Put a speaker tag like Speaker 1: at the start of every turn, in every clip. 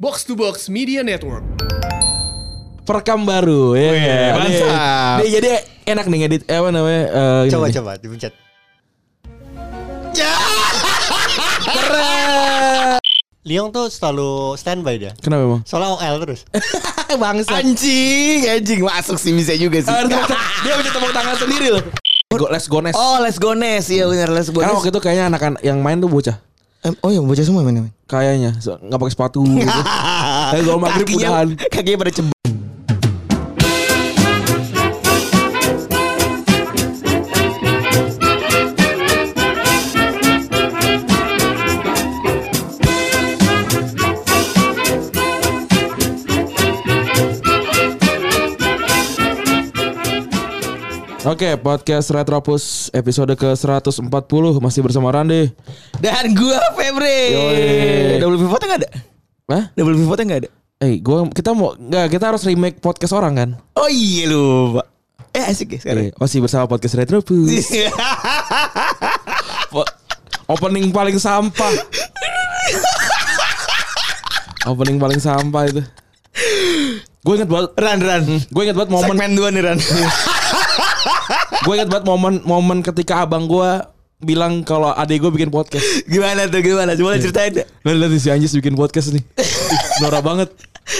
Speaker 1: Box to Box Media Network.
Speaker 2: Perekam baru ya. kan?
Speaker 1: mantap.
Speaker 2: Nih, jadi enak nih ngedit eh, apa namanya? eh, gini
Speaker 3: Coba
Speaker 2: nih.
Speaker 3: coba dipencet. Liong tuh selalu standby dia.
Speaker 2: Kenapa emang?
Speaker 3: Soalnya OL terus.
Speaker 2: Bangsa.
Speaker 1: Anjing, anjing masuk sih bisa juga sih.
Speaker 2: dia punya tepuk tangan sendiri loh. Go, les gones.
Speaker 4: Oh, Les Gones. Iya benar Les Gones.
Speaker 2: Karena waktu itu kayaknya anak-anak yang main tuh bocah.
Speaker 4: Em, oh, yang bocah semua main-main.
Speaker 2: Kayaknya so- nggak pakai sepatu gitu. Tapi kalau maghrib udahan.
Speaker 4: kakinya pada cebok.
Speaker 2: Oke, podcast Retropus episode ke-140 masih bersama Rande.
Speaker 4: Dan gua Febri.
Speaker 2: Yoi.
Speaker 4: Double pivotnya enggak ada?
Speaker 2: Hah?
Speaker 4: Double pivotnya enggak ada?
Speaker 2: Eh, gua kita mau nggak kita harus remake podcast orang kan?
Speaker 4: Oh iya lu, Pak. Eh asik ya
Speaker 2: Eh,
Speaker 4: sekarang.
Speaker 2: masih bersama podcast Retropus.
Speaker 4: Iya.
Speaker 2: Po- opening paling sampah. opening paling sampah itu. Gue inget banget,
Speaker 4: Ran Ran.
Speaker 2: gue inget banget momen,
Speaker 4: Segmen 2 nih Ran.
Speaker 2: gue inget banget momen-momen ketika abang gue bilang kalau adik gue bikin podcast.
Speaker 4: gimana tuh gimana? Coba ceritain. deh.
Speaker 2: Lihat lihat si Anjis bikin podcast nih. Ih, Norak banget.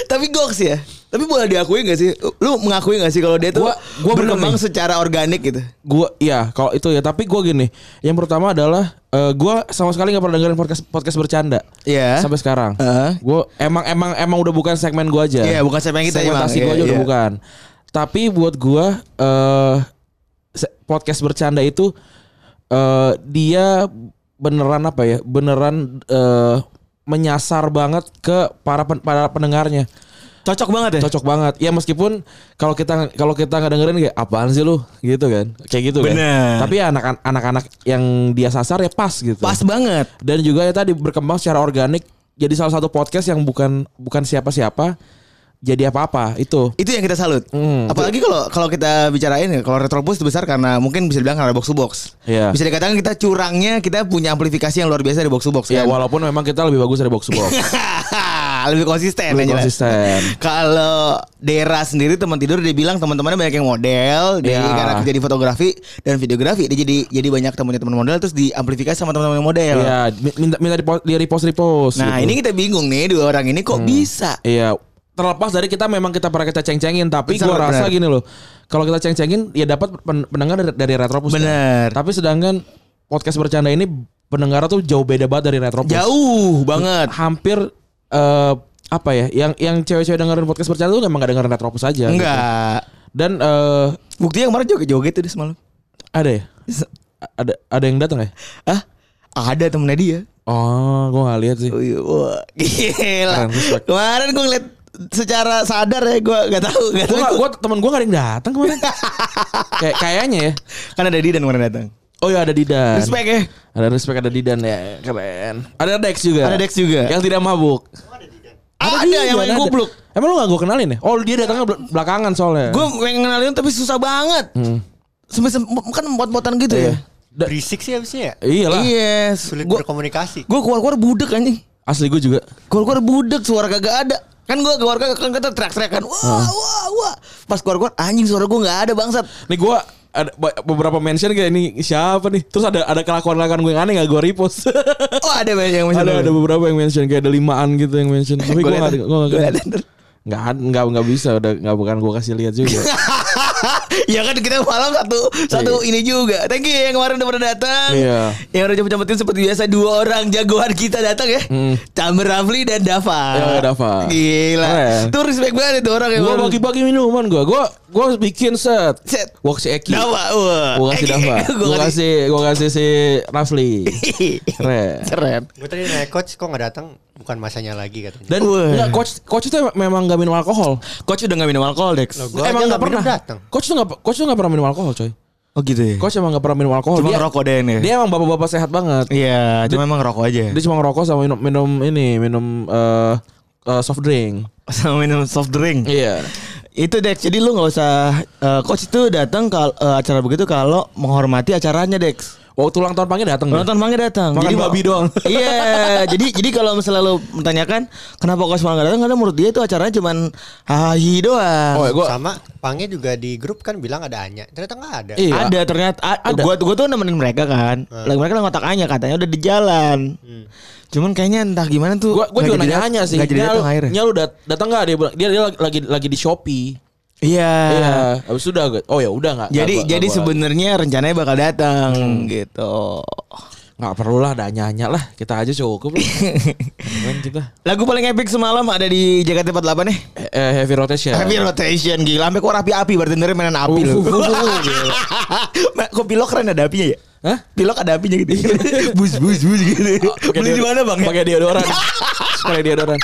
Speaker 4: Tapi goks ya. Tapi boleh diakui gak sih? Lu mengakui gak sih kalau dia tuh
Speaker 2: Gua- gua bener
Speaker 4: berkembang
Speaker 2: nih.
Speaker 4: secara organik gitu?
Speaker 2: Gue iya kalau itu ya, tapi gue gini. Yang pertama adalah gue sama sekali nggak pernah dengerin podcast podcast bercanda.
Speaker 4: Iya.
Speaker 2: Sampai sekarang.
Speaker 4: Heeh.
Speaker 2: Gue emang emang emang udah bukan segmen gue aja.
Speaker 4: Iya, bukan segmen kita,
Speaker 2: Segmentasi
Speaker 4: Bang.
Speaker 2: gue aja
Speaker 4: Iya,
Speaker 2: udah
Speaker 4: iya.
Speaker 2: bukan. Tapi buat gue eh se- podcast bercanda itu eh dia beneran apa ya? Beneran eh menyasar banget ke para pen- para pendengarnya.
Speaker 4: Cocok banget ya?
Speaker 2: Cocok banget. Ya meskipun kalau kita kalau kita nggak dengerin kayak apaan sih lu gitu kan. Kayak gitu kan.
Speaker 4: Bener.
Speaker 2: Tapi ya anak- anak-anak yang dia sasar ya pas gitu
Speaker 4: Pas banget.
Speaker 2: dan juga ya tadi berkembang secara organik jadi salah satu podcast yang bukan bukan siapa-siapa jadi apa-apa itu
Speaker 4: Itu yang kita salut.
Speaker 2: Hmm.
Speaker 4: Apalagi kalau kalau kita bicarain ya, kalau Retropus itu besar karena mungkin bisa dibilang karena box to box.
Speaker 2: Iya.
Speaker 4: Bisa dikatakan kita curangnya kita punya amplifikasi yang luar biasa dari box to box
Speaker 2: ya
Speaker 4: kan?
Speaker 2: walaupun memang kita lebih bagus dari box to box
Speaker 4: lebih konsisten
Speaker 2: Lebih
Speaker 4: aja lah.
Speaker 2: konsisten.
Speaker 4: Kalau Dera sendiri teman tidur dia bilang teman-temannya banyak yang model, dia
Speaker 2: Iya.
Speaker 4: karena kerja di fotografi dan videografi dia jadi jadi banyak temannya teman model terus diamplifikasi sama teman-teman yang model.
Speaker 2: ya minta minta di, di repost repost
Speaker 4: Iya.
Speaker 2: gitu.
Speaker 4: Nah, ini kita bingung nih dua orang ini kok bisa?
Speaker 2: iya terlepas dari kita memang kita pernah kita ceng-cengin tapi
Speaker 4: Benar,
Speaker 2: gua rasa
Speaker 4: benar.
Speaker 2: gini loh kalau kita ceng-cengin ya dapat pen- pendengar dari, dari retropus kan?
Speaker 4: Benar.
Speaker 2: tapi sedangkan podcast bercanda ini pendengar tuh jauh beda banget dari retropus
Speaker 4: Jauh banget.
Speaker 2: hampir eh, apa ya yang yang cewek-cewek dengerin podcast bercanda tuh memang gak dengerin retropus aja gitu.
Speaker 4: Enggak.
Speaker 2: Dan eh
Speaker 4: Buktinya kemarin joget-joget tuh dia semalam.
Speaker 2: ada ya? A- Ada ada yang datang ya?
Speaker 4: Ah, ada temennya dia.
Speaker 2: Oh, gua gak lihat sih.
Speaker 4: Oh iya, wah, gila.
Speaker 2: Keren, respect.
Speaker 4: Kemarin gue ngeliat secara sadar ya gue nggak tahu nggak
Speaker 2: Gua
Speaker 4: tahu
Speaker 2: gak, gua teman gua gak ada yang datang kemarin. Kayak kayaknya ya.
Speaker 4: kan ada Didan kemarin datang
Speaker 2: Oh ya ada Didan.
Speaker 4: respect ya
Speaker 2: Ada respect ada Didan ya. Keren. Ada Dex juga.
Speaker 4: Ada Dex juga.
Speaker 2: Ya. Yang tidak mabuk.
Speaker 4: ada,
Speaker 2: Didan,
Speaker 4: yang main
Speaker 2: ada.
Speaker 4: goblok
Speaker 2: Emang lu gak gua kenalin ya? Oh, dia datangnya bel- belakangan soalnya.
Speaker 4: gue pengen kenalin tapi susah banget
Speaker 2: Hmm.
Speaker 4: sampai sem- kan mot-motan gitu
Speaker 2: Iya.
Speaker 4: ya
Speaker 2: Da-
Speaker 3: Berisik sih habisnya ya.
Speaker 2: iyalah.
Speaker 4: iya
Speaker 3: Sulit
Speaker 4: gue
Speaker 3: berkomunikasi.
Speaker 4: gue keluar-keluar budek anjing
Speaker 2: Asli gua juga.
Speaker 4: keluar-keluar budek suara kagak ada kan gue keluar kagak kan kata teriak-teriak kan
Speaker 2: Hmm.
Speaker 4: wah wah wah pas keluar-keluar anjing suara gue nggak ada bangsat
Speaker 2: Nih gua ada ba- beberapa mention kayak ini siapa nih? Terus ada ada kelakuan-kelakuan gue yang aneh gak gua repost.
Speaker 4: oh ada yang masih
Speaker 2: ada ada beberapa yang mention kayak ada limaan gitu yang mention tapi gue
Speaker 4: Gua
Speaker 2: nggak
Speaker 4: liat,
Speaker 2: gua nggak
Speaker 4: gua
Speaker 2: nggak
Speaker 4: liat.
Speaker 2: nggak nggak bisa udah nggak bukan gue kasih lihat juga
Speaker 4: ya kan kita malam satu satu ini juga. Thank you ya, yang kemarin udah pernah datang.
Speaker 2: Iya.
Speaker 4: Yang udah cepet-cepetin seperti biasa dua orang jagoan kita datang ya.
Speaker 2: Hmm.
Speaker 4: Tamer Rafli dan Dava.
Speaker 2: Iya, Dava.
Speaker 4: Gila.
Speaker 2: Keren.
Speaker 4: Tuh respect banget itu orang yang
Speaker 2: gue
Speaker 4: baru.
Speaker 2: bagi-bagi minuman gue gue gue bikin set
Speaker 4: Set.
Speaker 2: Gua kasih Eki
Speaker 4: Dava. Wah.
Speaker 2: gue kasih Dava
Speaker 4: Gua
Speaker 2: gue
Speaker 4: kasih.
Speaker 2: kasih gue kasih si Rafli keren
Speaker 4: Keren.
Speaker 3: Gue tadi nanya coach kok nggak datang, bukan masanya lagi katanya.
Speaker 2: dan
Speaker 4: Wah.
Speaker 2: nggak, coach coach itu memang gak minum alkohol
Speaker 4: Coach udah gak minum alkohol Dex.
Speaker 3: Loh, gua aja
Speaker 2: nggak
Speaker 3: nggak minum datang.
Speaker 2: coach tuh nggak coach tuh nggak pernah minum alkohol coy
Speaker 4: Oh gitu ya.
Speaker 2: coach emang nggak pernah minum alkohol
Speaker 4: Cuma
Speaker 2: dia,
Speaker 4: ngerokok ya? deh ini.
Speaker 2: dia emang bapak-bapak sehat banget
Speaker 4: Iya, cuma emang ngerokok aja.
Speaker 2: dia cuma ngerokok sama minum minum ini minum eh, eh, soft drink
Speaker 4: Sama minum soft drink.
Speaker 2: iya
Speaker 4: Itu Dex, jadi lu nggak usah eh, coach itu datang kalau eh, acara begitu kalau menghormati acaranya Dex.
Speaker 2: Waktu ulang tahun panggil datang.
Speaker 4: Penonton Mangga datang.
Speaker 2: Hmm. Makan
Speaker 4: Jadi-
Speaker 2: babi doang.
Speaker 4: Iya, jadi jadi kalau misalnya lo menanyakan kenapa kok Mangga datang karena menurut dia itu acaranya cuman hahi doang.
Speaker 2: Oh, gua
Speaker 3: Sama Pange juga di grup kan bilang ada Anya. Ternyata nggak ada.
Speaker 2: Iya.
Speaker 4: Ada ternyata ada.
Speaker 2: Ada. Nah.
Speaker 4: Gua, gua tuh nemenin mereka kan. Lagi mereka lagi ngotaknya katanya udah di jalan. Cuman kayaknya entah gimana
Speaker 2: Hmm.
Speaker 4: tuh.
Speaker 2: gua, gua
Speaker 4: nggak
Speaker 2: juga
Speaker 4: jadi
Speaker 2: nanya
Speaker 4: dat-
Speaker 2: nanya sih.
Speaker 4: nggak jadi
Speaker 2: Nya
Speaker 4: datang
Speaker 2: lu-
Speaker 4: akhirnya.
Speaker 2: Nya lu dat- datang enggak dia bilang- dia, dia lagi lagi di Shopee.
Speaker 4: Iya.
Speaker 2: Iya, habis itu udah gua- Hmm. oh ya udah enggak.
Speaker 4: Jadi jadi sebenarnya rencananya bakal datang gitu.
Speaker 2: enggak perlu lah nanya-nanya lah. Kita aja cukup lah. Keren kita.
Speaker 4: Lagu paling epic semalam ada di JKT48 nih.
Speaker 2: Eh, eh, heavy rotation.
Speaker 4: Heavy rotation gila, sampai kok rapi-api bartendernya mainan api
Speaker 2: Uh,
Speaker 4: loh.
Speaker 2: uh, uh, uh, gila.
Speaker 4: Ma, kok pilok keren ada apinya ya?
Speaker 2: Hah?
Speaker 4: Pilok ada apinya gitu. bus bus bus gitu.
Speaker 2: Pakai
Speaker 4: Beli di
Speaker 2: deod-
Speaker 4: mana bang? ya?
Speaker 2: Pakai deodoran. Sekali deodoran.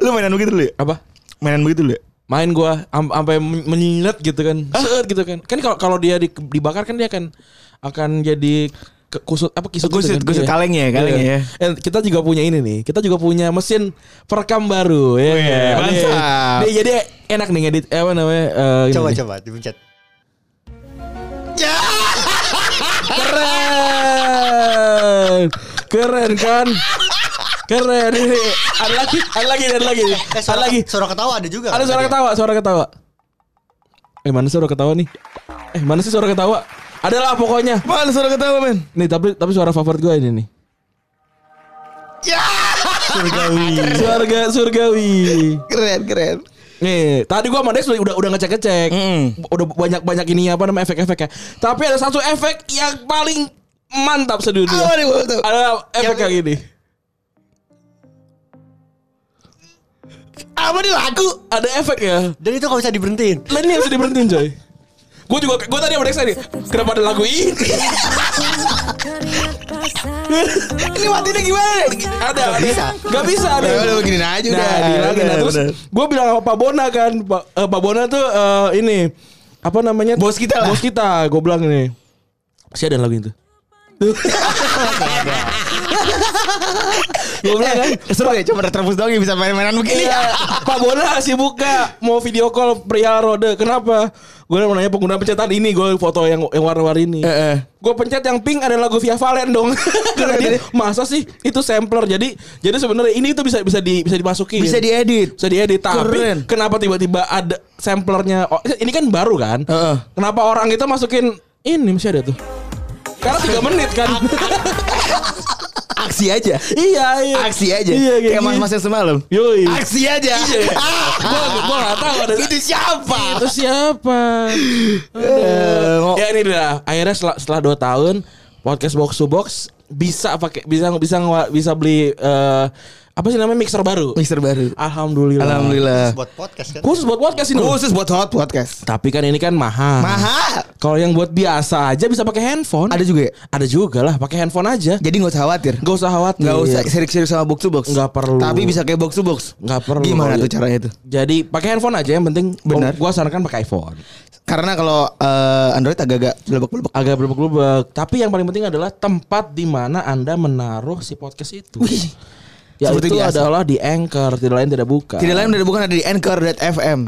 Speaker 4: Lu mainan begitu dulu ya?
Speaker 2: Apa?
Speaker 4: Mainan begitu dulu ya?
Speaker 2: main gua am- sampai men- menyilet gitu kan. Set gitu kan. Kan kalau kalau dia di- dibakar kan dia akan akan jadi ke- kusut apa kisut gitu
Speaker 4: Kusut-
Speaker 2: kan.
Speaker 4: kusut
Speaker 2: Iya.
Speaker 4: kaleng ya, kaleng
Speaker 2: Iya.
Speaker 4: ya.
Speaker 2: Eh, kita juga punya ini nih. Kita juga punya mesin perekam baru ya. kan?
Speaker 1: mantap.
Speaker 2: Iya. Nih, Jadi enak nih ngedit eh, apa namanya? eh, ini
Speaker 3: Coba
Speaker 2: nih.
Speaker 3: coba dipencet.
Speaker 2: Keren. Keren kan? Keren ini. Ada lagi, ada lagi, ada lagi.
Speaker 3: Eh,
Speaker 2: Ada
Speaker 3: suara,
Speaker 2: lagi.
Speaker 3: suara ketawa ada juga.
Speaker 2: Ada
Speaker 3: kan
Speaker 2: suara
Speaker 3: tadi ya?
Speaker 2: ketawa, suara ketawa. Eh mana suara ketawa nih? Eh mana sih suara ketawa? Adalah pokoknya.
Speaker 4: Mana suara ketawa men?
Speaker 2: Nih tapi tapi suara favorit gue ini nih.
Speaker 3: Surgawi.
Speaker 2: Surga surgawi.
Speaker 4: Keren keren.
Speaker 2: Nih, tadi gua sama Dex udah udah ngecek-ngecek.
Speaker 4: Mm.
Speaker 2: Udah banyak-banyak ini apa namanya efek-efeknya. Tapi ada satu efek yang paling mantap
Speaker 4: Apa
Speaker 2: sedunia.
Speaker 4: nih gua tahu?
Speaker 2: Ada efek yang ini.
Speaker 4: Apa nih lagu?
Speaker 2: Ada efek ya.
Speaker 3: Dan itu gak bisa diberhentiin.
Speaker 2: Lah ini harus diberhentiin coy. Gue juga, gue tadi sama Dex tadi. Kenapa ada lagu ini?
Speaker 4: Ini matinya gimana nih?
Speaker 2: ada, ada.
Speaker 3: bisa.
Speaker 2: Gak bisa. Ada.
Speaker 4: Ya udah beginin aja
Speaker 2: Nah,
Speaker 4: udah.
Speaker 2: dihilangin. Nah,
Speaker 4: Bener,
Speaker 2: terus
Speaker 4: bener.
Speaker 2: gue bilang sama Pak Bona kan, Pak, eh, Pak Bona tuh eh, ini apa namanya?
Speaker 4: Bos kita lah.
Speaker 2: Bos kita, gue bilang ini. Si ada lagu itu. gue bilang kan,
Speaker 4: Seru ya coba terus dong ya bisa main-mainan begini.
Speaker 2: Iya, Pak Bona sih buka mau video call perihal rode. Kenapa? Gue mau nanya penggunaan pencetan ini, gue foto yang yang warna-warni ini.
Speaker 4: Heeh.
Speaker 2: Gue pencet yang pink ada lagu Via Valen dong. Karena dia, masa sih itu sampler. Jadi jadi sebenarnya ini itu bisa bisa di, bisa dimasukin.
Speaker 4: Bisa diedit.
Speaker 2: Bisa diedit tapi
Speaker 4: Keren.
Speaker 2: kenapa tiba-tiba ada samplernya? Oh, ini kan baru kan?
Speaker 4: Heeh.
Speaker 2: Kenapa orang kita masukin ini masih ada tuh? Karena tiga menit kan?
Speaker 4: Aksi aja.
Speaker 2: iya iya.
Speaker 4: Aksi aja.
Speaker 2: Iya kayak
Speaker 4: Kayak Iya. mas-mas yang semalam.
Speaker 2: Yoi.
Speaker 4: Aksi aja.
Speaker 2: Ah,
Speaker 4: Ah,
Speaker 2: Gua gua nggak tahu ada
Speaker 4: Itu siapa?
Speaker 2: itu siapa?
Speaker 4: Eh,
Speaker 2: Aduh.
Speaker 4: mau-
Speaker 2: ya ini lah. Akhirnya setelah, setelah 2 tahun podcast box to box bisa pakai bisa bisa ngewa- bisa beli eh, apa sih namanya mixer baru.
Speaker 4: Mister baru.
Speaker 2: Alhamdulillah.
Speaker 4: Alhamdulillah.
Speaker 3: Buat podcast kan.
Speaker 2: Khusus buat podcast ini.
Speaker 4: Khusus buat hot podcast.
Speaker 2: Tapi kan ini kan mahal.
Speaker 4: Mahal.
Speaker 2: Kalau yang buat biasa aja bisa pakai handphone.
Speaker 4: Ada juga ya?
Speaker 2: Ada juga lah pakai handphone aja.
Speaker 4: Jadi nggak usah khawatir.
Speaker 2: Gak usah khawatir.
Speaker 4: Nggak usah sirik-sirik sama box to box.
Speaker 2: Iya. Nggak perlu.
Speaker 4: Tapi bisa kayak box to box.
Speaker 2: Nggak perlu.
Speaker 4: Gimana tuh caranya tuh?
Speaker 2: Jadi pakai handphone aja yang penting.
Speaker 4: Benar.
Speaker 2: Gua sarankan pakai iPhone.
Speaker 4: Karena kalau eh, Android agak-agak belebek-belebek.
Speaker 2: agak berlubuk-lubuk. Tapi yang paling penting adalah tempat di mana Anda menaruh si podcast itu. ya
Speaker 4: Seperti
Speaker 2: itu
Speaker 4: biasa.
Speaker 2: adalah di Anchor, tidak lain tidak bukan.
Speaker 4: Tidak lain dari bukan ada di
Speaker 2: Ah.
Speaker 4: anchor.fm.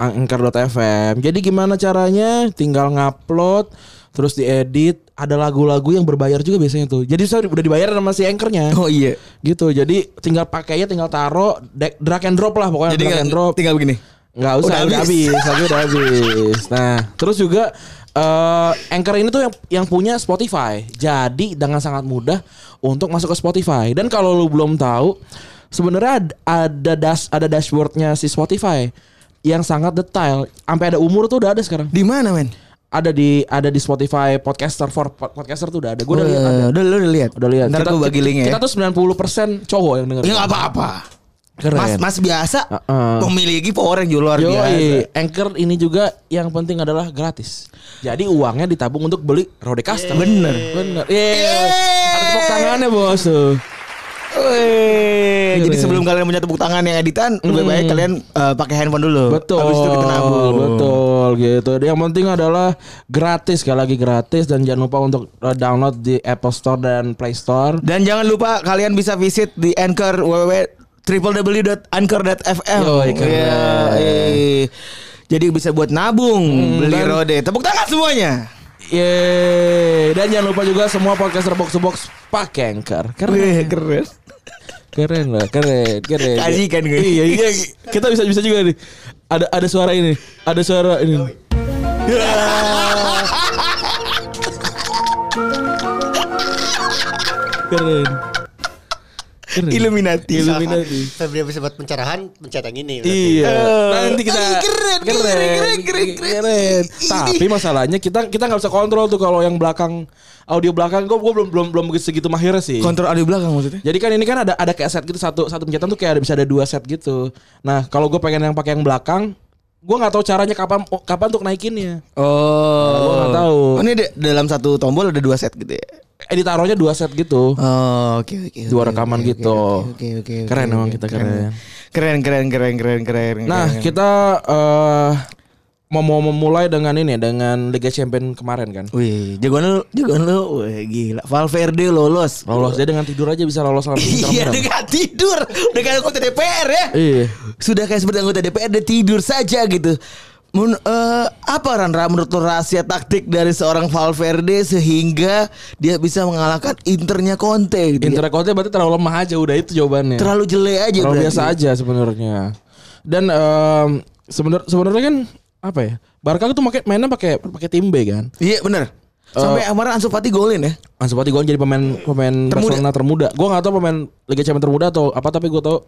Speaker 2: Anchor.fm. Jadi gimana caranya? Tinggal ngupload terus diedit, ada lagu-lagu yang berbayar juga biasanya tuh. Jadi saya udah dibayar sama si anchornya.
Speaker 4: Oh iya.
Speaker 2: Gitu. Jadi tinggal pakainya tinggal taruh drag drag and drop lah pokoknya
Speaker 4: Jadi kan
Speaker 2: drag
Speaker 4: nggak-
Speaker 2: and drop.
Speaker 4: tinggal begini.
Speaker 2: Nggak usah,
Speaker 4: Udah
Speaker 2: udah
Speaker 4: habis.
Speaker 2: habis, lagu udah habis. Nah, terus juga eh Anchor ini tuh yang yang punya Spotify. Jadi dengan sangat mudah untuk masuk ke Spotify. Dan kalau lu belum tahu, sebenarnya ad- ada dash ada dashboardnya si Spotify yang sangat detail. Sampai ada umur tuh udah ada sekarang.
Speaker 4: Di mana men?
Speaker 2: Ada di ada di Spotify podcaster for pod- podcaster tuh udah ada. Gue udah lihat ada.
Speaker 4: Eh, udah lu udah lihat.
Speaker 2: Udah lihat.
Speaker 4: Ntar
Speaker 2: Kita-
Speaker 4: gue bagi linknya.
Speaker 2: Kita
Speaker 4: ya.
Speaker 2: tuh 90% cowok yang denger.
Speaker 4: Ya nggak apa-apa.
Speaker 2: Keren.
Speaker 4: Mas mas biasa
Speaker 2: Heeh.
Speaker 4: memiliki power yang luar biasa.
Speaker 2: Yoi, Anchor ini juga yang penting adalah gratis. Jadi uangnya ditabung untuk beli Rodecaster. Bener, bener. Yeay. Ada tepuk tangannya bos tuh.
Speaker 4: Weh, Eh, jadi
Speaker 2: Keren.
Speaker 4: sebelum kalian punya tepuk tangan yang editan, lebih baik kalian eh, pakai handphone dulu.
Speaker 2: Betul.
Speaker 4: Habis itu kita nabung.
Speaker 2: Betul gitu. Yang penting adalah gratis sekali lagi gratis dan jangan lupa untuk eh, download di Apple Store dan Play Store.
Speaker 4: Dan jangan lupa kalian bisa visit di Anchor www www.anchor.fm.
Speaker 2: Yoi, keren.
Speaker 4: Iya, iya. Jadi bisa buat nabung,
Speaker 2: Hmm,
Speaker 4: beli
Speaker 2: dan-
Speaker 4: rode. Tepuk tangan semuanya.
Speaker 2: Yeay. Dan jangan lupa juga semua podcaster box to box pakai Anchor. Keren.
Speaker 4: keren.
Speaker 2: Keren lah, keren, keren.
Speaker 4: Kasihkan gue.
Speaker 2: Iya, iya. Kita bisa bisa juga nih. Ada ada suara ini. Ada suara ini.
Speaker 3: Iya.
Speaker 2: Keren. Keren.
Speaker 4: Illuminati.
Speaker 2: Hmm. Illuminati.
Speaker 3: Febri habis dapat pencerahan pencet yang ini. berarti.
Speaker 2: Iya.
Speaker 4: Eh.
Speaker 2: Nanti kita
Speaker 4: Ih, keren, keren, keren, keren, keren.
Speaker 2: keren.
Speaker 4: Ini.
Speaker 2: Tapi masalahnya kita kita nggak bisa kontrol tuh kalau yang belakang audio belakang gue belum belum belum segitu mahirnya sih.
Speaker 4: Kontrol audio belakang maksudnya?
Speaker 2: Jadi kan ini kan ada ada kayak set gitu satu satu pencetan tuh kayak ada bisa ada dua set gitu. Nah kalau gue pengen yang pakai yang belakang, gue nggak tahu caranya kapan kapan untuk naikinnya.
Speaker 4: Oh.
Speaker 2: Gua nggak tahu.
Speaker 4: Oh, ini ada- dalam satu tombol ada dua set gitu ya?
Speaker 2: Eh ditaruhnya dua set gitu.
Speaker 4: Oh, oke oke.
Speaker 2: Dua
Speaker 4: oke,
Speaker 2: rekaman
Speaker 4: oke,
Speaker 2: gitu.
Speaker 4: oke, Oke oke. oke,
Speaker 2: Keren
Speaker 4: oke,
Speaker 2: emang
Speaker 4: oke,
Speaker 2: kita, keren.
Speaker 4: Keren keren keren keren keren.
Speaker 2: Nah
Speaker 4: keren.
Speaker 2: kita eh, mau mau memulai dengan ini dengan Liga Champion kemarin kan.
Speaker 4: Wih, jagoan lu, jagoan lu, wih, gila. Valverde lolos.
Speaker 2: Lolos dia dengan tidur aja bisa lolos lawan Inter
Speaker 4: Iya,
Speaker 2: Milan.
Speaker 4: dia nggak tidur. Udah kayak anggota DPR ya.
Speaker 2: Iya.
Speaker 4: Sudah kayak seperti anggota DPR dia tidur saja gitu. Men, eh, apa Randra menurut lo rahasia taktik dari seorang Valverde sehingga dia bisa mengalahkan Internya Conte gitu ya?
Speaker 2: Inter Conte berarti terlalu lemah aja udah itu jawabannya.
Speaker 4: Terlalu jelek aja
Speaker 2: Terlalu
Speaker 4: berarti. ya?
Speaker 2: biasa aja sebenarnya. Dan em, sebenar sebenarnya kan apa ya? Barca itu pakai mainnya pakai pakai tim B kan.
Speaker 4: Iya, benar.
Speaker 2: Eh.
Speaker 4: Sampai kemarin Ansu Fati golin ya.
Speaker 2: Ancelotti gue jadi pemain pemain Barcelona termuda. Gue nggak tahu pemain Liga Champions termuda atau apa tapi gue tahu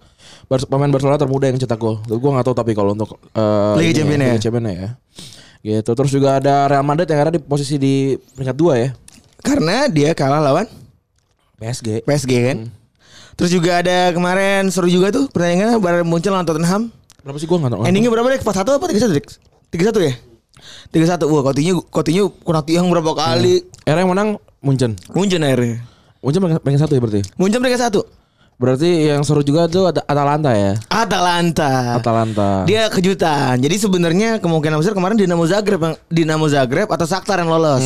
Speaker 2: Bar- pemain Barcelona termuda yang cetak gol. Gue nggak tahu tapi kalau untuk eh, ini
Speaker 4: Liga Champions ya?
Speaker 2: Liga Champions ya. Gitu. Terus juga ada Real Madrid yang ada di posisi di peringkat 2 ya.
Speaker 4: Karena dia kalah lawan
Speaker 2: PSG.
Speaker 4: PSG kan.
Speaker 2: Hmm.
Speaker 4: Terus juga ada kemarin seru juga tuh pertandingan Bayern Munchen lawan Tottenham.
Speaker 2: Berapa sih gue nggak tahu.
Speaker 4: Oh. Endingnya berapa Dek? 41 apa 31 Dek? 31 ya? 31. Wah, Coutinho Coutinho kena tiang berapa kali?
Speaker 2: Era yang menang Munchen.
Speaker 4: Munchen Iya. akhirnya.
Speaker 2: Munchen peringkat peringkat satu ya berarti.
Speaker 4: Munchen mereka satu.
Speaker 2: Berarti yang seru juga tuh ada Atalanta ya.
Speaker 4: Atalanta.
Speaker 2: Atalanta.
Speaker 4: Nah. Dia kejutan. Jadi sebenarnya kemungkinan besar kemarin Dinamo Zagreb yang Dinamo Zagreb atau Shakhtar yang lolos.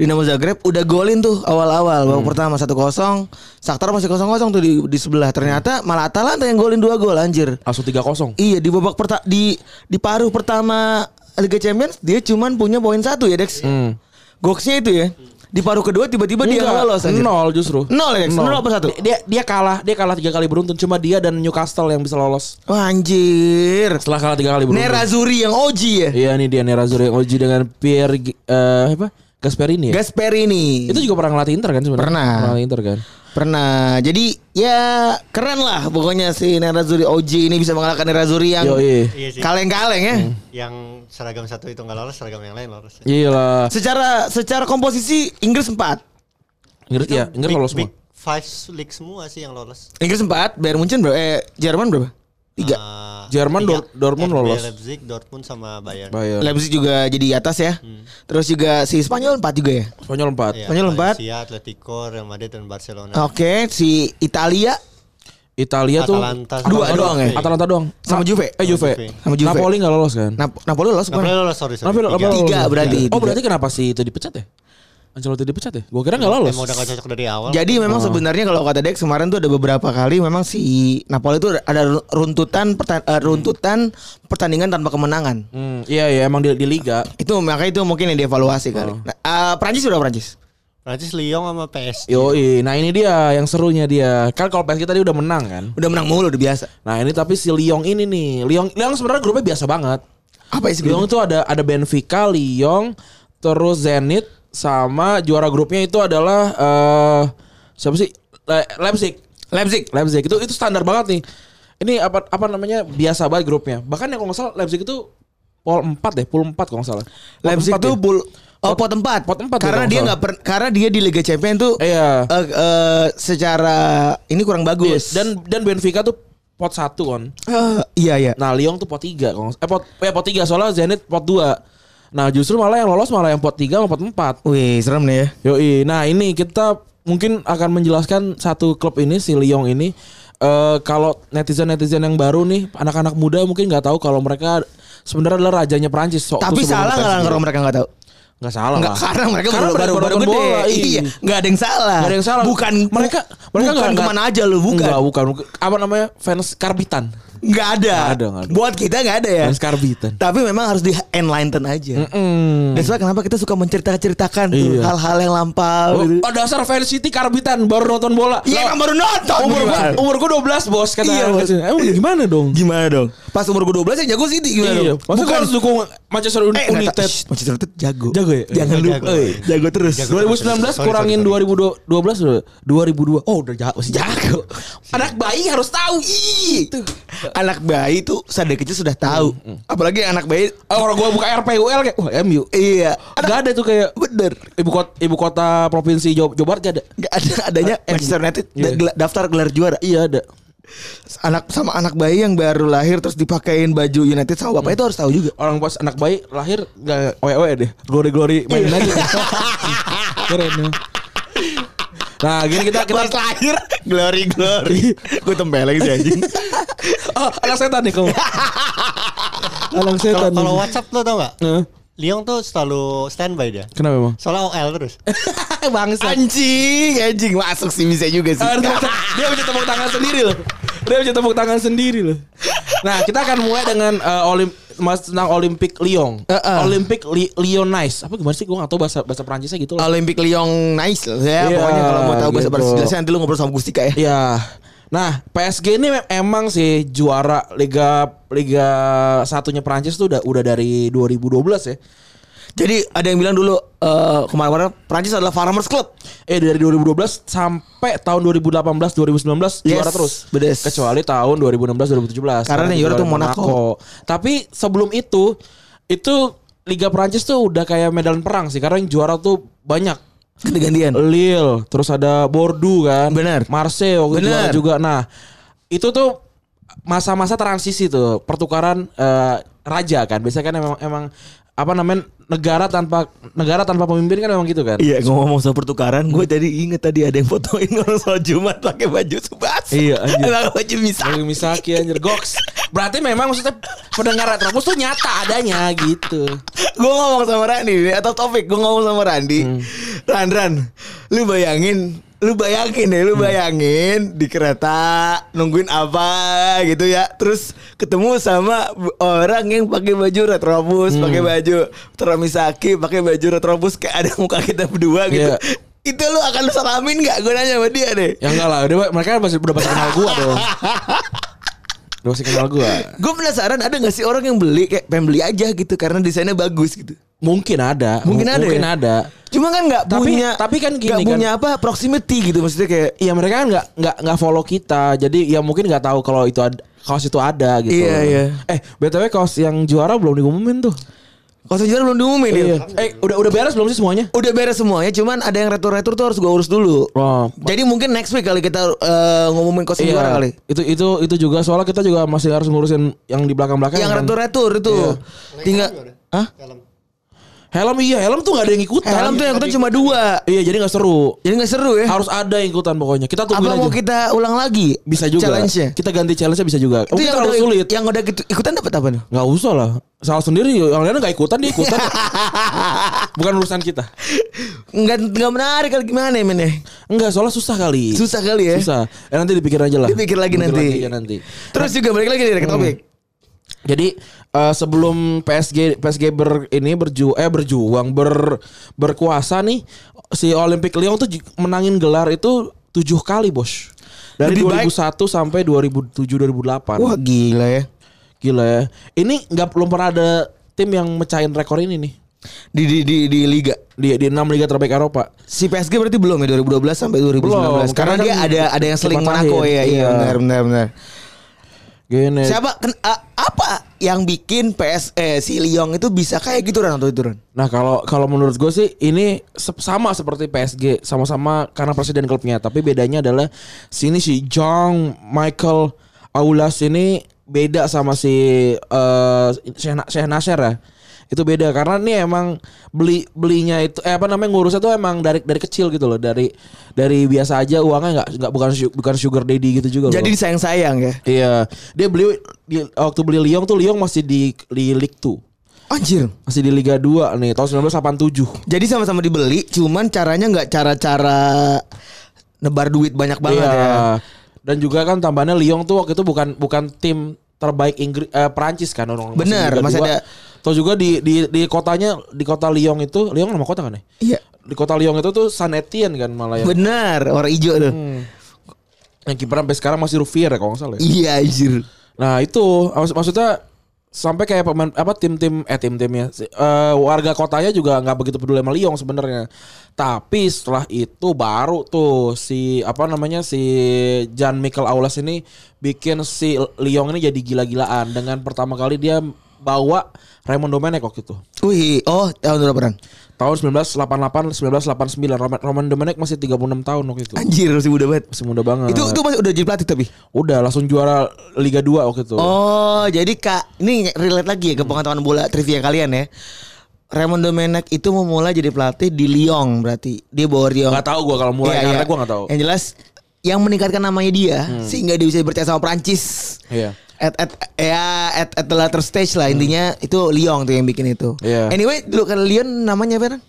Speaker 4: Dinamo Zagreb udah golin tuh awal-awal babak pertama 1-0. Shakhtar masih 0-0 tuh di, di sebelah. Ternyata malah Atalanta yang golin dua gol anjir.
Speaker 2: langsung 3-0.
Speaker 4: Iya di babak perta di di paruh pertama Liga Champions dia cuman punya poin satu ya Dex.
Speaker 2: Hmm.
Speaker 4: Goksnya itu ya. Di paruh kedua tiba-tiba Oh, dia nggak lolos anjir.
Speaker 2: Nol justru.
Speaker 4: Nol ya, Dex? Nol apa satu?
Speaker 2: Dia dia kalah, dia kalah tiga kali beruntun. Cuma dia dan Newcastle yang bisa lolos.
Speaker 4: Wah, anjir.
Speaker 2: Setelah kalah tiga kali beruntun.
Speaker 4: Nerazzurri yang Oji ya.
Speaker 2: Iya nih dia Nerazzurri yang Oji dengan Pierre eh, apa? Gasperini ya.
Speaker 4: Gasperini.
Speaker 2: Itu juga pernah ngelatih Inter kan sebenarnya.
Speaker 4: Pernah.
Speaker 2: Pernah ngelatih Inter kan.
Speaker 4: Pernah. Jadi ya keren lah pokoknya si Nerazzurri OG ini bisa mengalahkan Nerazzurri yang
Speaker 2: Yoi. Hmm.
Speaker 3: Iya sih.
Speaker 4: kaleng-kaleng ya.
Speaker 3: Yang seragam satu itu nggak lolos, seragam yang lain lolos.
Speaker 2: Iya lah.
Speaker 4: Secara secara komposisi Inggris 4.
Speaker 2: Inggris ya, Inggris
Speaker 3: Big-
Speaker 2: lolos semua.
Speaker 3: Big Five league semua sih yang lolos.
Speaker 4: Inggris 4, Bayern Munchen berapa? Eh Jerman berapa? 3.
Speaker 3: Ah,
Speaker 2: Jerman, Dor- Dortmund
Speaker 3: RB
Speaker 2: lolos.
Speaker 3: Leipzig, Dortmund sama Bayern.
Speaker 2: Bayar.
Speaker 4: Leipzig juga jadi di atas ya.
Speaker 2: Hmm.
Speaker 4: Terus juga si Spanyol 4 juga ya.
Speaker 2: Spanyol 4.
Speaker 3: Iya,
Speaker 4: Spanyol empat.
Speaker 3: Valencia, Atletico, Real Madrid dan Barcelona.
Speaker 2: Nah.
Speaker 4: Oke, si Italia
Speaker 2: Italia Oh, iya tuh
Speaker 3: Atalanta sama
Speaker 4: Dua
Speaker 3: Juve.
Speaker 4: doang ya?
Speaker 2: Atalanta doang.
Speaker 4: Sama Juve.
Speaker 2: Eh Juve.
Speaker 3: Juve.
Speaker 4: Sama Juve.
Speaker 2: Napoli nggak lolos kan?
Speaker 4: Nap- Napoli lolos
Speaker 3: Nggak boleh
Speaker 4: bukan?
Speaker 3: lolos, sorry, sorry.
Speaker 2: Napoli-
Speaker 3: Tiga.
Speaker 2: Napoli lolos.
Speaker 4: Tiga berarti.
Speaker 2: Oh
Speaker 4: Tiga.
Speaker 2: berarti kenapa sih itu dipecat ya? Ancelotti dipecat ya? Gue kira nggak lolos.
Speaker 3: Emang udah nggak cocok dari awal.
Speaker 4: Jadi memang sebenarnya kalau kata Dex kemarin tuh ada beberapa kali memang si Napoli itu ada runtutan perta- eh, runtutan pertandingan tanpa kemenangan.
Speaker 2: Hmm, iya iya emang di, di liga.
Speaker 4: Itu makanya itu mungkin yang dievaluasi kali.
Speaker 2: Oh.
Speaker 4: Nah, eh, Prancis udah Prancis.
Speaker 3: Prancis Lyon sama PSG.
Speaker 2: Yoi, nah ini dia yang serunya dia. Kan kalau PSG tadi udah menang kan.
Speaker 4: Udah menang mulu udah biasa.
Speaker 2: Nah ini tapi si Lyon ini nih, Lyon Lyon sebenarnya grupnya biasa banget.
Speaker 4: Apa isi gitu?
Speaker 2: Lyon
Speaker 4: grup?
Speaker 2: itu ada ada Benfica, Lyon, terus Zenit sama juara grupnya itu adalah eh siapa sih? Le- Leipzig.
Speaker 4: Leipzig.
Speaker 2: Leipzig itu itu standar banget nih. Ini apa apa namanya biasa banget grupnya. Bahkan yang kalau nggak salah Leipzig itu pol 4 deh, pol 4 kalau nggak salah. Pol
Speaker 4: Leipzig
Speaker 2: empat
Speaker 4: itu
Speaker 2: ya?
Speaker 4: bul Oh, pot empat.
Speaker 2: Pot empat ya,
Speaker 4: Karena
Speaker 2: kalau
Speaker 4: dia
Speaker 2: nggak
Speaker 4: nggak per- karena dia di Liga Champions tuh
Speaker 2: Iya.
Speaker 4: eh, eh, secara ini kurang bagus.
Speaker 2: dan dan Benfica tuh pot 1 kan.
Speaker 4: Eh, iya iya.
Speaker 2: Nah, Lyon tuh pot 3 kalau nggak- eh pot eh, pot 3 soalnya Zenit pot 2. Nah, justru malah yang lolos malah yang pot 3 sama pot 4.
Speaker 4: Wih, serem nih ya.
Speaker 2: Yoi. Nah, ini kita mungkin akan menjelaskan satu klub ini si Lyon ini eh kalau netizen-netizen yang baru nih, anak-anak muda mungkin nggak tahu kalau mereka sebenarnya adalah rajanya Prancis. So- sebelum
Speaker 4: Tapi salah
Speaker 2: mereka
Speaker 4: nggak
Speaker 2: sendiri.
Speaker 4: kalau mereka nggak tahu?
Speaker 2: Nggak salah
Speaker 4: Nggak,
Speaker 2: lah.
Speaker 4: karena mereka
Speaker 2: Karena
Speaker 4: baru baru,
Speaker 2: mereka
Speaker 4: baru
Speaker 2: nonton
Speaker 4: gede.
Speaker 2: bola, iya.
Speaker 4: Iya, nggak ada yang salah.
Speaker 2: Nggak ada yang salah.
Speaker 4: Bukan
Speaker 2: mereka mereka
Speaker 4: bukan
Speaker 2: nggak-
Speaker 4: kemana aja lu, bukan.
Speaker 2: Nggak, bukan. Apa namanya? Fans karbitan.
Speaker 4: nggak ada.
Speaker 2: Nggak ada, nggak ada.
Speaker 4: Buat kita nggak ada ya.
Speaker 2: Dan Skarbitan.
Speaker 4: Tapi memang harus di enlighten aja. Dan sebab kenapa kita suka menceritakan tuh
Speaker 2: Iya.
Speaker 4: hal-hal yang lampau
Speaker 2: Oh,
Speaker 4: gitu.
Speaker 2: oh, dasar fan City Karbitan baru nonton bola.
Speaker 4: Iya,
Speaker 2: Lah,
Speaker 4: emang baru nonton.
Speaker 2: umur gua
Speaker 4: Gimana?
Speaker 2: umur gua 12 bos kata
Speaker 4: Iya,
Speaker 2: orang
Speaker 4: Bos.
Speaker 2: kesini. Emang gimana dong?
Speaker 4: Gimana dong? Pas umur gue 12 yang ya, jago City gimana
Speaker 2: Iya,
Speaker 4: dong?
Speaker 2: masa gua harus dukung Manchester
Speaker 4: eh, nggak
Speaker 2: United.
Speaker 4: tahu. Shh, Manchester United jago.
Speaker 2: Jago ya?
Speaker 4: Jangan
Speaker 2: Eh,
Speaker 4: lupa.
Speaker 2: jago.
Speaker 4: Eh, Jago terus.
Speaker 3: Jago.
Speaker 2: 2019
Speaker 3: Sorry,
Speaker 2: kurangin
Speaker 3: sorry,
Speaker 2: 2012 2002. Oh, udah jago, masih jago. Anak bayi harus tahu. Ih, Iya. itu. Mm,
Speaker 4: Anak bayi tuh sadar kecil sudah tahu. Apalagi anak bayi
Speaker 2: Oh, Orang gua buka RPUL kayak wah MU.
Speaker 4: iya.
Speaker 2: Gak ada tuh kayak
Speaker 4: Bener.
Speaker 2: ibu kota ibu kota provinsi Jawa, Jawa Barat gak ada.
Speaker 4: Gak ada adanya Manchester United da-
Speaker 2: Iya.
Speaker 4: gela- daftar gelar juara.
Speaker 2: Iya ada.
Speaker 4: Anak sama anak bayi yang baru lahir terus dipakein baju United sama
Speaker 2: Mm.
Speaker 4: bapak itu harus tahu juga.
Speaker 2: Orang pas anak bayi lahir gak oe deh. Glory-glory main aja. Keren ya. Nah, gini kita kita
Speaker 4: Pas lahir glory glory. Gue tempeleng sih anjing.
Speaker 2: oh, anak setan nih kamu. anak
Speaker 3: Kalau
Speaker 2: setan.
Speaker 3: kalau WhatsApp lo tau gak?
Speaker 2: Heeh.
Speaker 3: Liong tuh selalu standby dia.
Speaker 2: Kenapa emang?
Speaker 3: Soalnya OL terus.
Speaker 2: Bangsa.
Speaker 1: Anjing, anjing masuk sih bisa juga sih.
Speaker 2: Ah, dia
Speaker 4: Nah,
Speaker 2: bisa- dia bisa tepuk tangan sendiri loh. Dia bisa tepuk tangan sendiri loh. Nah, kita akan mulai dengan eh, olim mas tentang Olympic Lyon.
Speaker 4: Heeh.
Speaker 2: Olympic Li Lyonnais. Apa gimana sih? Gue gak tahu bahasa bahasa Perancisnya gitu lah.
Speaker 4: Olympic Lyon nice loh ya.
Speaker 2: Iya,
Speaker 4: Pokoknya kalau mau tahu bahasa
Speaker 2: gitu.
Speaker 4: bahasa jelasnya nanti lu ngobrol sama Gustika ya.
Speaker 2: Iya. Nah, PSG ini mem- emang sih juara Liga Liga satunya Perancis tuh udah udah dari 2012 ya.
Speaker 4: Jadi ada yang bilang dulu eh, kemarin-kemarin Prancis adalah Farmers Club.
Speaker 2: Eh dari 2012 sampai tahun 2018 2019 juara
Speaker 4: Yes,
Speaker 2: terus.
Speaker 4: bedes.
Speaker 2: Kecuali tahun 2016 2017.
Speaker 4: Karena yang juara tuh Monaco.
Speaker 2: Tapi sebelum itu itu Liga Prancis tuh udah kayak medan perang sih karena yang juara tuh banyak.
Speaker 4: Ganti-gantian.
Speaker 2: Lille, terus ada Bordeaux kan.
Speaker 4: Bener.
Speaker 2: Marseille waktu itu
Speaker 4: Bener.
Speaker 2: juara juga. Nah, itu tuh masa-masa transisi tuh pertukaran eh, raja kan. Biasanya kan emang emang apa namanya negara tanpa negara tanpa pemimpin kan memang gitu kan.
Speaker 4: Iya ngomong soal pertukaran Gue jadi inget tadi ada yang fotoin orang soal Jumat pakai baju subas
Speaker 2: Iya, anjir.
Speaker 4: Pakai baju misal
Speaker 2: Lagi Misaki anjir goks. Berarti memang maksudnya pendengar Retropus tuh nyata adanya gitu.
Speaker 4: Gue ngomong sama Randi nih Atau topik Gue ngomong sama Randi
Speaker 2: Hmm.
Speaker 4: Ran Ran Lu bayangin Lu bayangin deh Lu
Speaker 2: Hmm.
Speaker 4: bayangin Di kereta Nungguin apa gitu ya Terus ketemu sama bu- Orang yang pakai baju
Speaker 2: Hmm.
Speaker 4: retrobus pakai baju Teromisaki pakai baju retrobus Kayak ada muka kita berdua gitu
Speaker 2: Iya.
Speaker 4: Itu lu akan lu salamin gak? Gue nanya sama dia deh
Speaker 2: Ya enggak lah, udah, mereka masih udah pasti kenal gua dong. Udah pasti kenal gua.
Speaker 4: Gue penasaran ada gak sih orang yang beli kayak pengen beli aja gitu karena desainnya bagus gitu.
Speaker 2: Mungkin ada,
Speaker 4: Mungkin
Speaker 2: mu-
Speaker 4: ada
Speaker 2: Oh, Mungkin
Speaker 4: ya?
Speaker 2: ada.
Speaker 4: Cuma kan nggak
Speaker 2: Tapi-
Speaker 4: punya
Speaker 2: tapi kan gini
Speaker 4: nggak
Speaker 2: kan.
Speaker 4: punya apa proximity gitu maksudnya kayak
Speaker 2: Iya mereka kan nggak nggak nggak follow kita, jadi ya mungkin nggak tahu kalau itu ada, kaos itu ada gitu.
Speaker 4: Iya, iya.
Speaker 2: Eh btw kaos yang juara belum diumumin tuh.
Speaker 4: kalau juara belum diumumin
Speaker 2: Iya.
Speaker 4: ya.
Speaker 2: Eh udah udah beres belum sih semuanya?
Speaker 4: Udah beres semuanya, cuman ada yang retur-retur tuh harus gue urus dulu.
Speaker 2: Wah,
Speaker 4: Jadi mungkin next week kali kita eh, ngumumin kos
Speaker 2: Iya,
Speaker 4: juara kali.
Speaker 2: itu itu itu juga soalnya kita juga masih harus ngurusin yang di kan. belakang belakang.
Speaker 4: Yang retur-retur itu
Speaker 2: Iya.
Speaker 4: tinggal Hah?
Speaker 3: Dalam.
Speaker 2: Helm iya, helm tuh gak ada yang ikutan.
Speaker 4: Eh, Helm tuh yang ikutan cuma dua.
Speaker 2: Iya, jadi gak seru.
Speaker 4: Jadi nggak seru ya.
Speaker 2: Harus ada yang ikutan pokoknya. Kita
Speaker 4: Apa
Speaker 2: tungguin
Speaker 4: mau
Speaker 2: aja.
Speaker 4: kita ulang lagi?
Speaker 2: Bisa juga.
Speaker 4: Challenge-nya.
Speaker 2: Kita ganti challenge-nya bisa juga.
Speaker 4: Itu
Speaker 2: Mungkin
Speaker 4: yang
Speaker 2: terlalu
Speaker 4: udah
Speaker 2: sulit.
Speaker 4: Yang udah gitu- ikutan dapat apa dong?
Speaker 2: Gak usah lah. Salah sendiri yang lainnya gak ikutan dia ikutan. Bukan urusan kita.
Speaker 4: Enggak enggak menarik kali gimana ya men ya?
Speaker 2: Enggak, soalnya susah kali.
Speaker 4: Susah kali ya.
Speaker 2: Susah. Eh, nanti dipikir aja lah.
Speaker 4: Dipikir lagi nanti.
Speaker 2: ya, nanti.
Speaker 4: Terus juga balik lagi dari ke topik.
Speaker 2: Hmm, Jadi eh, sebelum PSG PSG ber ini berju eh berjuang ber berkuasa nih si Olympic Lyon tuh ju- menangin gelar itu tujuh kali bos dari
Speaker 4: Lebih baik.
Speaker 2: 2001 sampai 2007 2008
Speaker 4: Wah gila ya.
Speaker 2: gila ya ini nggak belum pernah ada tim yang mecahin rekor ini nih
Speaker 4: Di di di, di liga.
Speaker 2: di di enam liga terbaik Eropa
Speaker 4: Si PSG berarti belum ya 2012 sampai 2019.
Speaker 2: Belum,
Speaker 4: karena
Speaker 2: karena
Speaker 4: dia
Speaker 2: kan
Speaker 4: ada ada yang seling
Speaker 2: cepat
Speaker 4: Monaco
Speaker 2: akhir.
Speaker 4: ya.
Speaker 2: Iya.
Speaker 4: Iya benar benar benar.
Speaker 2: gini
Speaker 4: Siapa ken- a- apa yang bikin PS eh, si Lyon itu bisa kayak gitu Ran atau itu Ran?
Speaker 2: Nah kalau kalau menurut gue sih ini se- sama seperti PSG sama-sama karena presiden klubnya tapi bedanya adalah sini si John Michael Aulas ini beda sama si eh Sheikh Na- Sheikh Nasser ya itu beda karena ini emang beli belinya itu eh, apa namanya ngurusnya tuh emang dari dari kecil gitu loh dari dari biasa aja uangnya nggak nggak bukan su- bukan sugar daddy gitu juga
Speaker 4: Jadi
Speaker 2: loh.
Speaker 4: disayang-sayang ya.
Speaker 2: iya dia beli di- waktu beli Lyon tuh Lyon masih di di Ligue 2
Speaker 4: Anjir.
Speaker 2: masih di Liga 2 nih tahun 1987
Speaker 4: Jadi sama-sama dibeli, cuman caranya nggak cara-cara nebar duit banyak banget
Speaker 2: Iya.
Speaker 4: ya.
Speaker 2: Dan juga kan tambahnya Lyon tuh waktu itu bukan bukan tim terbaik Inggris eh, Perancis kan orang
Speaker 4: Bener, masih ada-
Speaker 2: Terus juga di di di kotanya di kota Lyon itu, Lyon nama kota kan ya?
Speaker 4: Iya.
Speaker 2: Di kota Lyon itu tuh San Etienne kan malah yang,
Speaker 4: Benar, warna hijau tuh.
Speaker 2: Hmm. yang kiper sampai sekarang masih Rufier ya kalau nggak salah. ya.
Speaker 4: Iya, anjir.
Speaker 2: Nah, itu Maksud- maksudnya sampai kayak pemain apa tim-tim eh tim-timnya si- eh, warga kotanya juga nggak begitu peduli sama Lyon sebenarnya. Tapi setelah itu baru tuh si apa namanya si Jan Michael Aulas ini bikin si Lyon ini jadi gila-gilaan dengan pertama kali dia bawa Raymond Domenech waktu itu.
Speaker 4: Wih, oh tahun berapaan?
Speaker 2: Tahun 1988 1989 Roman, Roman Domenech masih 36 tahun waktu itu.
Speaker 4: Anjir, masih muda banget.
Speaker 2: Masih muda banget.
Speaker 4: Itu itu masih udah jadi pelatih tapi.
Speaker 2: udah langsung juara Liga 2 waktu itu.
Speaker 4: Oh, jadi Kak, ini relate
Speaker 2: Hmm.
Speaker 4: lagi ya ke pengetahuan bola trivia kalian ya. Raymond Domenech itu memulai jadi pelatih di Lyon berarti. Dia bawa Lyon.
Speaker 2: Nggak tahu gua kalau mulai
Speaker 4: Iya,
Speaker 2: karena
Speaker 4: iya.
Speaker 2: gua nggak tahu. Hmm.
Speaker 4: Yang jelas yang meningkatkan namanya dia sehingga dia bisa dipercaya sama Prancis.
Speaker 2: Iya. Hmm.
Speaker 4: At, at, ya at, at the latter stage lah intinya itu Lyon tuh yang bikin itu.
Speaker 2: Iya.
Speaker 4: Anyway, dulu kan Lyon namanya apa? Ran?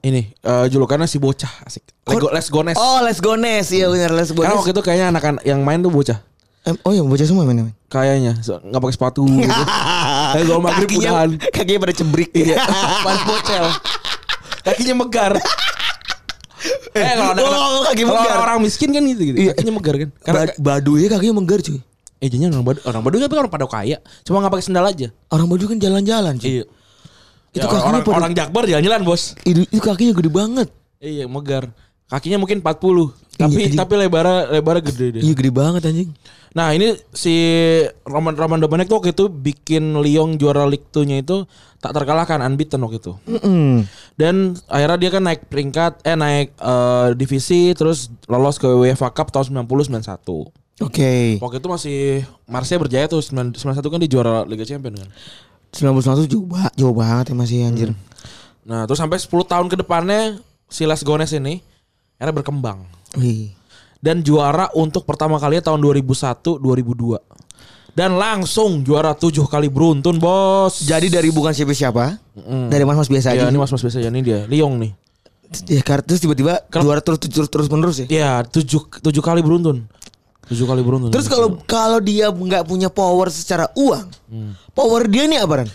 Speaker 2: Ini eh, julukannya si bocah asik. Lego, Les Gones.
Speaker 4: Oh, Les Gones. Iya benar Les
Speaker 2: Karena
Speaker 4: Gones.
Speaker 2: waktu itu kayaknya anak-anak yang main tuh bocah.
Speaker 4: Em, oh iya bocah semua mainnya.
Speaker 2: Kayaknya so, nggak pakai sepatu. gitu. Eh, gol maghrib udahan.
Speaker 4: kakinya pada cebrik.
Speaker 2: Iya. Pas bocel. Kakinya megar. eh kalau anak-anak
Speaker 4: Oh, kaki
Speaker 2: kalau
Speaker 4: megar.
Speaker 2: orang miskin kan gitu, gitu.
Speaker 4: Iya.
Speaker 2: Kakinya megar kan. Karena
Speaker 4: Ba- baduy kakinya menggar cuy.
Speaker 2: eh jadinya orang badu orang badu tapi orang pada kaya. Cuma nggak pakai sendal aja.
Speaker 4: Orang Baduy kan jalan-jalan cuy.
Speaker 2: Iya. Itu
Speaker 4: Itu kakinya
Speaker 2: orang,
Speaker 4: pada-
Speaker 2: orang Jakbar jalan-jalan, Bos.
Speaker 4: Itu, itu kakinya gede banget.
Speaker 2: Iya, megar. Kakinya mungkin 40, tapi
Speaker 4: Iya, iya.
Speaker 2: tapi lebarnya lebarnya gede deh.
Speaker 4: Iya gede banget anjing.
Speaker 2: Nah ini si Roman Roman Domenech tuh waktu itu bikin Lyon juara Ligue 2-nya itu tak terkalahkan unbeaten waktu itu. Dan akhirnya dia kan naik peringkat eh naik eh, divisi terus lolos ke UEFA Cup tahun 90 91.
Speaker 4: Oke.
Speaker 2: Waktu itu masih Marseille berjaya tuh 9 91 kan di juara Liga Champions kan.
Speaker 4: 1991 jauh, ba- jauh banget ya masih anjir.
Speaker 2: Nah, terus sampai 10 tahun ke depannya si Les Gones ini akhirnya berkembang
Speaker 4: Wih.
Speaker 2: dan juara untuk pertama kalinya tahun 2001 2002. Dan langsung juara tujuh kali beruntun, Bos.
Speaker 4: Jadi dari bukan siapa-siapa, dari mas-mas biasa
Speaker 2: Ya
Speaker 4: aja.
Speaker 2: ini mas mas biasa ya ini dia Liong nih.
Speaker 4: Ya, kar- terus tiba-tiba juara terus terus terus menerus ya.
Speaker 2: Ya tujuh tujuh kali beruntun. Tujuh kali beruntun.
Speaker 4: Terus kalau kalau dia nggak punya power secara uang, power dia nih apa Ran?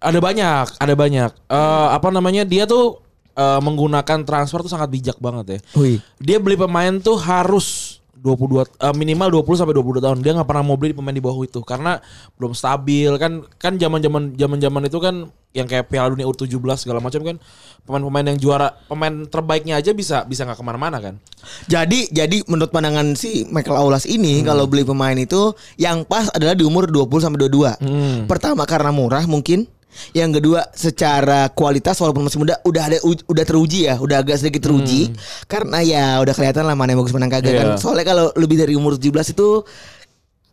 Speaker 2: ada banyak ada banyak Eh, apa namanya dia tuh eh, menggunakan transfer tuh sangat bijak banget ya.
Speaker 4: Wih.
Speaker 2: Dia beli pemain tuh harus 22 eh, minimal 20 sampai 22 tahun. Dia nggak pernah mau beli pemain di bawah itu karena belum stabil kan kan zaman-zaman zaman-zaman itu kan yang kayak Piala Dunia U17 segala macam kan pemain-pemain yang juara pemain terbaiknya aja bisa bisa nggak kemana-mana kan.
Speaker 4: Jadi jadi menurut pandangan si Michael Aulas ini
Speaker 2: Hmm.
Speaker 4: kalau beli pemain itu yang pas adalah di umur 20 sampai 22.
Speaker 2: Hmm.
Speaker 4: Pertama karena murah mungkin. Yang kedua secara kualitas walaupun masih muda udah ada uj- udah teruji ya, udah agak sedikit teruji karena ya udah kelihatan lah mana yang bagus mana yang kagak kan.
Speaker 2: Hmm. Iya.
Speaker 4: Soalnya kalau lebih dari umur 17 itu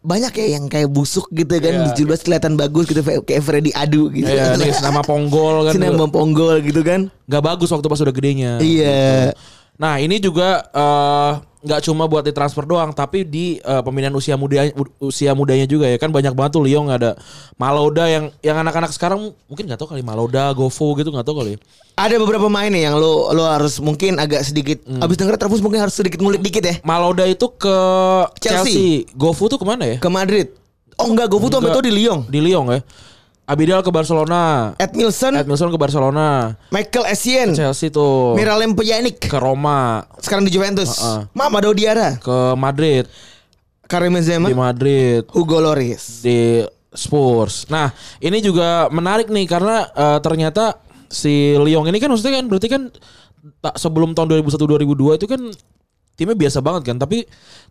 Speaker 4: banyak ya yang kayak busuk gitu
Speaker 2: Iya.
Speaker 4: kan 17 kelihatan bagus gitu kayak Freddy Adu gitu.
Speaker 2: Iya, ini nama Ponggol kan.
Speaker 4: Sinema Ponggol gitu kan.
Speaker 2: nggak bagus waktu pas udah gedenya.
Speaker 4: Iya.
Speaker 2: Nah ini juga eh, nggak cuma buat ditransfer doang, tapi di eh, pemilihan usia muda usia mudanya juga ya kan banyak banget tuh Lyon ada Maloda yang yang anak-anak sekarang mungkin nggak tahu kali Maloda, Govo gitu nggak tahu kali.
Speaker 4: Ada beberapa main nih yang lo lo harus mungkin agak sedikit abis denger terus mungkin harus sedikit ngulik dikit ya
Speaker 2: Maloda itu ke
Speaker 4: Chelsea.
Speaker 2: Chelsea, Govo tuh kemana ya?
Speaker 4: ke Madrid. Oh enggak, gue tuh sampai
Speaker 2: Enggak.
Speaker 4: tuh di Lyon.
Speaker 2: Di Lyon ya. Abidal ke Barcelona,
Speaker 4: Ed Milson,
Speaker 2: Edmilson ke Barcelona,
Speaker 4: Michael Essien,
Speaker 2: Chelsea tuh
Speaker 4: Miralem Pjanic
Speaker 2: ke Roma,
Speaker 4: sekarang di Juventus.
Speaker 2: Heeh.
Speaker 4: Mama Diarra,
Speaker 2: ke Madrid,
Speaker 4: Karim
Speaker 2: di
Speaker 4: Benzema,
Speaker 2: Madrid.
Speaker 4: Hugo Lloris.
Speaker 2: di Spurs. Nah, ini juga menarik nih karena eh, ternyata si Lyon ini kan maksudnya kan berarti kan tak sebelum tahun 2001 2002 itu kan timnya biasa banget kan, tapi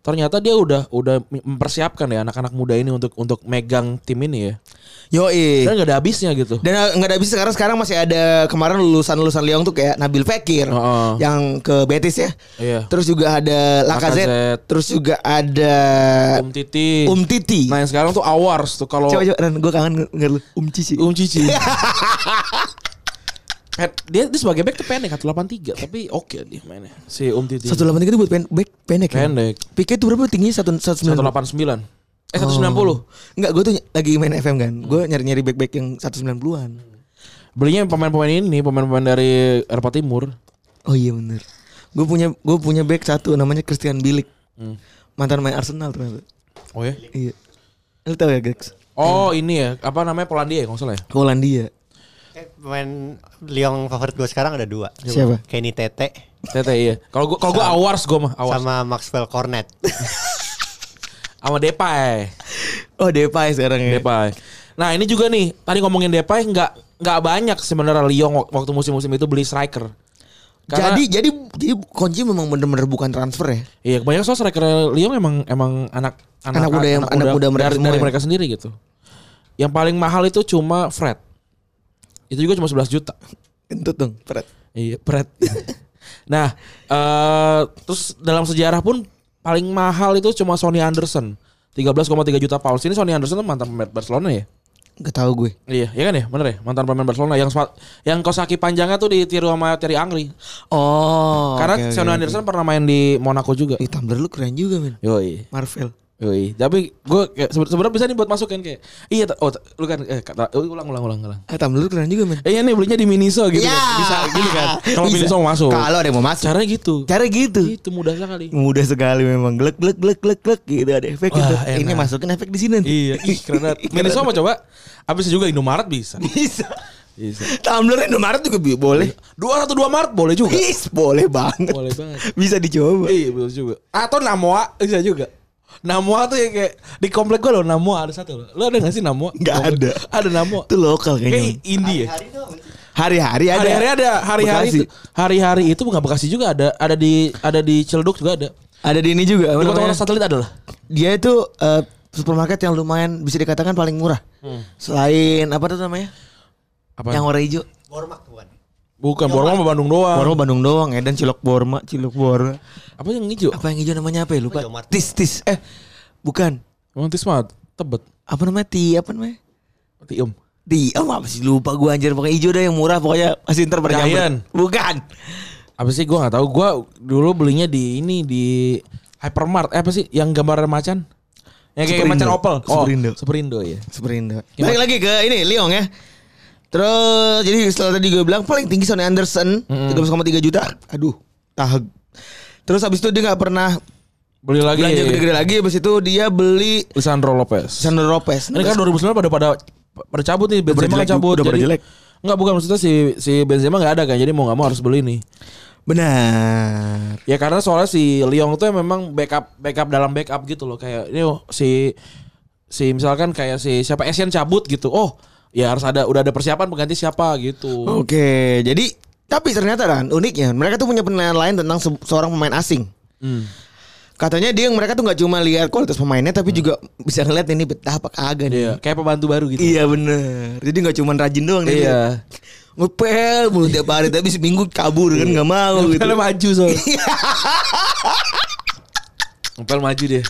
Speaker 2: ternyata dia udah udah mempersiapkan ya anak-anak muda ini untuk untuk megang tim ini ya.
Speaker 4: Yoi.
Speaker 2: Dan gak ada habisnya gitu.
Speaker 4: Dan nggak ada habis sekarang sekarang masih ada kemarin lulusan-lulusan Lyon tuh kayak Nabil Fekir
Speaker 2: Heeh.
Speaker 4: yang ke Betis ya.
Speaker 2: Iya.
Speaker 4: Terus juga ada Lacazette,
Speaker 2: Lacazette.
Speaker 4: terus juga ada
Speaker 2: Um Titi.
Speaker 4: Um Titi.
Speaker 2: Nah, yang sekarang tuh Awars tuh kalau
Speaker 4: Coba coba Ran, gue kangen denger lu. Um Cici.
Speaker 2: Um Cici. Pen- dia, dia sebagai back tuh pendek 183 tapi oke dia mainnya. Si Um Titi.
Speaker 4: Satu delapan tiga itu buat pen back pendek. ya?
Speaker 2: Pendek.
Speaker 4: Piqué itu berapa tingginya satu satu sembilan.
Speaker 2: 189. Eh 190.
Speaker 4: Enggak, gue tuh ny- lagi main FM kan.
Speaker 2: Hmm.
Speaker 4: Gue nyari nyari back back yang satu sembilan puluhan.
Speaker 2: Belinya pemain-pemain ini, pemain-pemain dari Eropa Timur.
Speaker 4: Oh iya bener. Gue punya gue punya back satu namanya
Speaker 2: Hmm.
Speaker 4: Christian Bilik. Mantan main Arsenal ternyata.
Speaker 2: Oh ya?
Speaker 4: Iya. Lu tahu ya Gex?
Speaker 2: Oh ini ya apa namanya Polandia ya kalau nggak salah ya.
Speaker 4: Ke Polandia.
Speaker 3: Eh, Pemain Lyon favorit gue sekarang ada dua. Coba.
Speaker 4: Siapa?
Speaker 3: Kenny Tete
Speaker 2: Tete iya. Kalau gua kalau gua
Speaker 3: Sama.
Speaker 2: awars gua mah awars
Speaker 3: sama Maxwell Cornet.
Speaker 2: sama Depay.
Speaker 4: Oh Depay sekarang ya.
Speaker 2: Depay. Nah ini juga nih tadi ngomongin Depay nggak nggak banyak sebenarnya Lyon wak- waktu musim-musim itu beli striker. Karena-
Speaker 4: Jadi jadi jadi Konji memang bener-bener bukan transfer ya.
Speaker 2: Iya, banyak soal striker Lyon emang emang anak
Speaker 4: Anak muda yang- anak muda
Speaker 2: dari,
Speaker 4: mereka semua
Speaker 2: dari
Speaker 4: ya?
Speaker 2: mereka sendiri gitu. Yang paling mahal itu cuma Fred. Itu juga cuma 11 juta.
Speaker 4: Entut dong. Fred.
Speaker 2: Iya, Fred. nah, eh terus dalam sejarah pun paling mahal itu cuma Sony Anderson. 13,3 juta pounds. Ini Sony Anderson tuh mantan pemain Barcelona ya?
Speaker 4: Gak tau gue.
Speaker 2: Iya, iya kan ya? Bener ya? Mantan pemain Barcelona yang spa- yang Kosaki panjangnya tuh ditiru sama Thierry Angri.
Speaker 4: Oh.
Speaker 2: Karena
Speaker 4: oke, oke,
Speaker 2: Sony
Speaker 4: oke.
Speaker 2: Anderson pernah main di Monaco juga.
Speaker 4: Ih, Tumblr lu keren juga men.
Speaker 2: Yoi.
Speaker 4: Marvel.
Speaker 2: Yoi. Tapi gue sebenarnya bisa nih buat masukin kayak iya ta- oh ta- lu kan eh, kata eh, ulang ulang ulang ulang.
Speaker 4: Ah, Tumblr lu keren juga men.
Speaker 2: Eh iya nih belinya di Miniso gitu.
Speaker 4: Ya.
Speaker 2: kan. Bisa gitu kan. Kalau
Speaker 4: Bisa.
Speaker 2: Miniso masuk.
Speaker 4: Kalau ada yang mau masuk.
Speaker 2: Caranya gitu.
Speaker 4: Cara gitu.
Speaker 2: Itu mudah sekali.
Speaker 4: Mudah sekali memang. Glek glek glek glek glek gitu ada efek
Speaker 2: Wah,
Speaker 4: gitu.
Speaker 2: enak.
Speaker 4: Ini masukin efek di sini. nanti.
Speaker 2: iya, ih keren banget. Miniso mau coba. Habis juga Indomaret bisa.
Speaker 4: Bisa.
Speaker 2: Bisa.
Speaker 4: Tumblr Indomaret juga bi- boleh.
Speaker 2: 212 Maret boleh juga.
Speaker 4: Is, boleh banget.
Speaker 2: Iya. Boleh banget.
Speaker 4: Bisa dicoba.
Speaker 2: Iya betul juga. Atau Namoa bisa juga. Namoa tuh yang kayak di komplek gua loh Namoa ada satu loh. Lu ada gak sih Namoa?
Speaker 4: Nggak ada.
Speaker 2: Ada Namoa.
Speaker 4: Itu lokal kayaknya.
Speaker 2: Kayak India.
Speaker 4: Hari-hari ada.
Speaker 2: Iya, Hari-hari ada, hari-hari
Speaker 4: Bekasi.
Speaker 2: itu, hari-hari itu bukan Bekasi juga ada, ada di ada di Ciledug juga ada.
Speaker 4: Ada di ini juga. apa
Speaker 2: Di
Speaker 4: namanya?
Speaker 2: kota-kota satelit ada lah.
Speaker 4: dia itu eh, supermarket yang lumayan bisa dikatakan paling murah. Selain apa tuh namanya?
Speaker 2: Hmm. Apa?
Speaker 4: Yang warna hijau.
Speaker 3: Borma bukan.
Speaker 2: bukan Borma sama Bandung doang.
Speaker 4: Borma Bandung doang, Edan Cilok Borma, Cilok Borma.
Speaker 2: Apa yang hijau?
Speaker 4: Apa yang hijau namanya apa ya? Lupa.
Speaker 3: Oh, Jomart.
Speaker 4: Tis tis. Eh, bukan.
Speaker 2: Emang Tisma Tebet.
Speaker 4: Apa namanya? Ti apa namanya?
Speaker 2: Tiem.
Speaker 4: Ti. Oh, apa sih lupa gua anjir pokoknya hijau deh yang murah pokoknya masih ntar pada nyamber.
Speaker 2: Giant.
Speaker 4: Bukan.
Speaker 2: Apa sih gua nggak tahu. Gua dulu belinya di ini di hypermart. Eh, apa sih yang gambar macan? Yang kayak
Speaker 4: Superindo.
Speaker 2: macan opel.
Speaker 4: Superindo.
Speaker 2: Oh, Superindo ya.
Speaker 4: Superindo. Balik lagi ke ini Liong ya. Terus jadi setelah tadi gue bilang paling tinggi Sonny Anderson 13,3 juta. Aduh, tahag. Terus habis itu dia nggak pernah
Speaker 2: Beli lagi.
Speaker 4: belanja gede-gede lagi habis itu dia beli
Speaker 2: Lisandro Lopez.
Speaker 4: Sandro Lopez.
Speaker 2: Ini kan 2009 pada pada pada cabut nih
Speaker 4: Udah
Speaker 2: Benzema
Speaker 4: jelek,
Speaker 2: kan cabut.
Speaker 4: udah pada
Speaker 2: Jadi-
Speaker 4: jelek.
Speaker 2: Enggak bukan maksudnya si si Benzema nggak ada kan. Jadi mau nggak mau harus beli nih.
Speaker 4: Benar.
Speaker 2: Ya karena soalnya si Lyon tuh memang backup backup dalam backup gitu loh kayak ini oh, si si misalkan kayak si siapa Asian cabut gitu. Oh, ya harus ada udah ada persiapan pengganti siapa
Speaker 4: Oh,
Speaker 2: gitu.
Speaker 4: Oke, jadi tapi ternyata kan uniknya mereka tuh punya penilaian lain tentang se- seorang pemain asing.
Speaker 2: Hmm.
Speaker 4: Katanya dia mereka tuh nggak cuma lihat kualitas pemainnya tapi juga bisa ngeliat ini betah apa kagak nih.
Speaker 2: Hmm. Iya, kayak pembantu baru gitu.
Speaker 4: Iya bener Jadi nggak cuma rajin doang dia.
Speaker 2: Iya.
Speaker 4: Ngepel mulu tiap hari tapi seminggu kabur kan nggak mau gitu.
Speaker 2: Iya. Ngepel maju soalnya. Ngepel maju dia.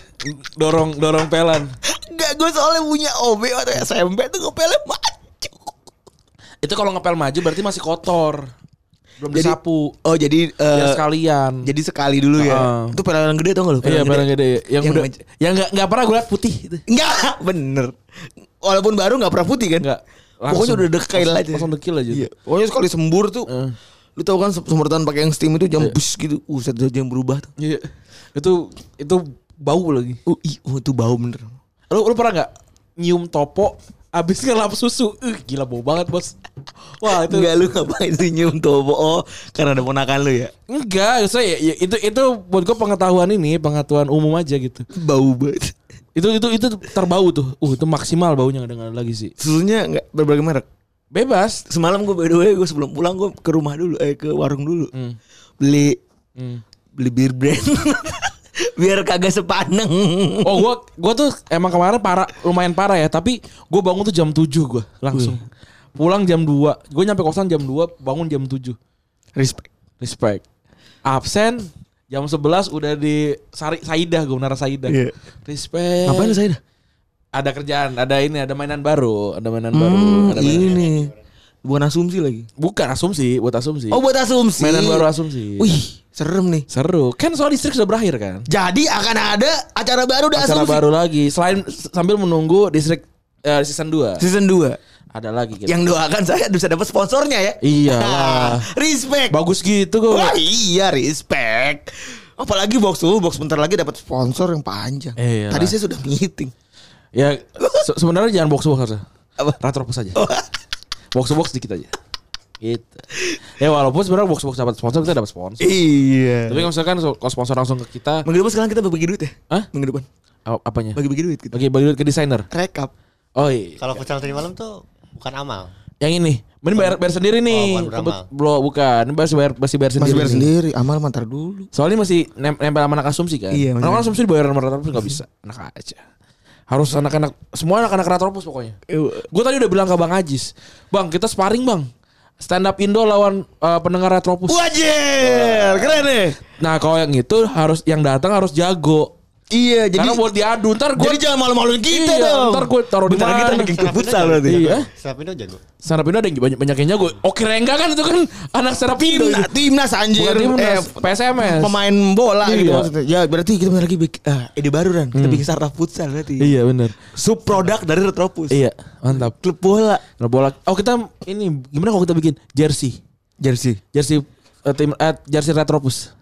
Speaker 2: Dorong dorong pelan.
Speaker 4: Enggak, gue soalnya punya OB waktu SMP tuh ngepelnya maju.
Speaker 2: Itu kalau ngepel maju berarti masih kotor. Belum
Speaker 4: Jadi-
Speaker 2: disapu.
Speaker 4: Oh jadi eh,
Speaker 2: Biar sekalian.
Speaker 4: jadi sekali dulu ya.
Speaker 2: Heeh.
Speaker 4: Itu pelayanan gede tau gak lu?
Speaker 2: iya,
Speaker 4: Pelayanan
Speaker 2: barang gede. Yang,
Speaker 4: Yang
Speaker 2: udah
Speaker 4: maj-
Speaker 2: yang enggak enggak pernah gue liat putih gitu.
Speaker 4: Enggak, bener. Walaupun baru nggak pernah putih kan?
Speaker 2: Enggak.
Speaker 4: Pokoknya udah dekil
Speaker 2: langsung- gitu. Eh.
Speaker 4: aja.
Speaker 2: Langsung dekil aja.
Speaker 4: Iya. Pokoknya sekali sembur tuh. Lu tau kan sem- semprotan pakai yang steam itu jam bus gitu. Uset uh, jam berubah tuh.
Speaker 2: Iya. Itu itu bau lagi.
Speaker 4: Oh, ih, oh itu bau bener.
Speaker 2: Lu lu pernah nggak nyium topo abis ngelap susu? Uh, gila bau banget, Bos. Wah, itu
Speaker 4: Enggak lu ngapain sih nyium topo? Oh, karena ada ponakan lu ya.
Speaker 2: enggak, saya ya, itu itu buat gue pengetahuan ini, pengetahuan umum aja gitu.
Speaker 4: Bau banget.
Speaker 2: Itu itu itu terbau tuh. Uh, itu maksimal baunya nggak ada nggak ada lagi sih.
Speaker 4: Susunya enggak berbagai merek.
Speaker 2: Bebas.
Speaker 4: Semalam gue by the way gue sebelum pulang gue ke rumah dulu eh ke warung dulu. Beli
Speaker 2: Hmm.
Speaker 4: beli beer brand. Biar kagak sepaneng.
Speaker 2: Oh gua gua tuh emang kemarin parah lumayan parah ya, tapi gua bangun tuh jam 7 gua langsung. Pulang jam 2. Gua nyampe kosan jam 2, bangun jam 7.
Speaker 4: Respect.
Speaker 2: Respect. Absen jam 11 udah di Sari Saidah gua Menara Saidah.
Speaker 4: Iya.
Speaker 2: Respect.
Speaker 4: Ngapain lu saya dah?
Speaker 2: Ada kerjaan, ada ini, ada mainan baru, ada mainan baru,
Speaker 4: Hmm,
Speaker 2: ada mainan. gitu kan.
Speaker 4: ini bukan asumsi lagi.
Speaker 2: Bukan asumsi, buat asumsi.
Speaker 4: Oh buat asumsi.
Speaker 2: mainan baru asumsi. ya.
Speaker 4: Wih serem nih.
Speaker 2: Seru. Kan soal listrik sudah berakhir kan?
Speaker 4: Jadi akan ada acara baru dah
Speaker 2: Acara
Speaker 4: asumsi.
Speaker 2: baru lagi. Selain sambil menunggu distrik eh, season 2
Speaker 4: Season 2
Speaker 2: ada lagi gitu.
Speaker 4: Yang doakan saya bisa dapat sponsornya ya.
Speaker 2: Iyalah.
Speaker 4: respect.
Speaker 2: Bagus gitu kok.
Speaker 4: Wah, iya respect. Apalagi box to box bentar lagi dapat sponsor yang panjang.
Speaker 2: Iyalah.
Speaker 4: Tadi saya sudah meeting.
Speaker 2: Ya Se- sebenarnya jangan box box harusnya. Rata rokus aja. box box dikit aja. Gitu. Ya walaupun sebenarnya box box dapat sponsor kita dapat sponsor.
Speaker 4: Iya.
Speaker 2: Tapi kalau misalkan so- kalau sponsor langsung ke kita,
Speaker 4: Minggu depan sekarang kita bagi duit ya?
Speaker 2: Hah?
Speaker 4: Minggu depan
Speaker 2: a- apanya?
Speaker 4: bagi-bagi duit kita.
Speaker 2: Bagi bagi duit ke desainer.
Speaker 4: Rekap.
Speaker 2: Oh iya.
Speaker 3: Kalau futsal tadi malam tuh bukan amal.
Speaker 2: Yang ini. Mending bayar, bayar sendiri nih.
Speaker 3: bukan beramal.
Speaker 2: Kebut- Belum bukan. Ini Masih bayar Oh, masih bayar sendiri.
Speaker 4: Masih bayar sendiri, amal mantar dulu.
Speaker 2: Soalnya masih nem- nempel sama anak asumsi kan.
Speaker 4: Iya,
Speaker 2: anak
Speaker 4: bener.
Speaker 2: asumsi dibayar sama rata-rata nggak bisa. Anak aja. Harus anak-anak semua anak-anak ratropus pokoknya. Gue tadi udah bilang ke Bang Ajis, Bang kita sparring bang. Stand up Indo lawan eh, pendengar retropus.
Speaker 4: Wajir, keren nih.
Speaker 2: Nah kalau yang itu harus yang datang harus jago.
Speaker 4: Iya, jadi
Speaker 2: Karena buat diadu ntar gue
Speaker 4: jadi jangan malu-maluin kita
Speaker 2: Iya,
Speaker 4: dong.
Speaker 2: ntar gue taruh di
Speaker 4: Bentar lagi
Speaker 2: mana.
Speaker 4: kita bikin klub futsal
Speaker 3: Indo
Speaker 4: berarti. Nah,
Speaker 3: jago.
Speaker 2: Iya.
Speaker 3: Stand up Indo jago.
Speaker 2: stand up Indo ada yang banyak, banyak yang jago. Oke Rengga kan itu kan anak stand up Indo.
Speaker 4: Timnas, timnas anjir.
Speaker 2: Bukan timnas,
Speaker 4: Eh,
Speaker 2: PSMS.
Speaker 4: pemain bola
Speaker 2: Iya. Hmm.
Speaker 4: gitu maksudnya. Ya berarti kita bentar lagi bikin ah, ide baru kan. Kita bikin startup futsal berarti.
Speaker 2: Iya benar.
Speaker 4: Sub produk dari Retropus.
Speaker 2: Iya mantap.
Speaker 4: Klub bola
Speaker 2: Nah, bola. Oh kita ini gimana kalau kita bikin jersey?
Speaker 4: jersey.
Speaker 2: jersey eh, tim eh, jersey retropus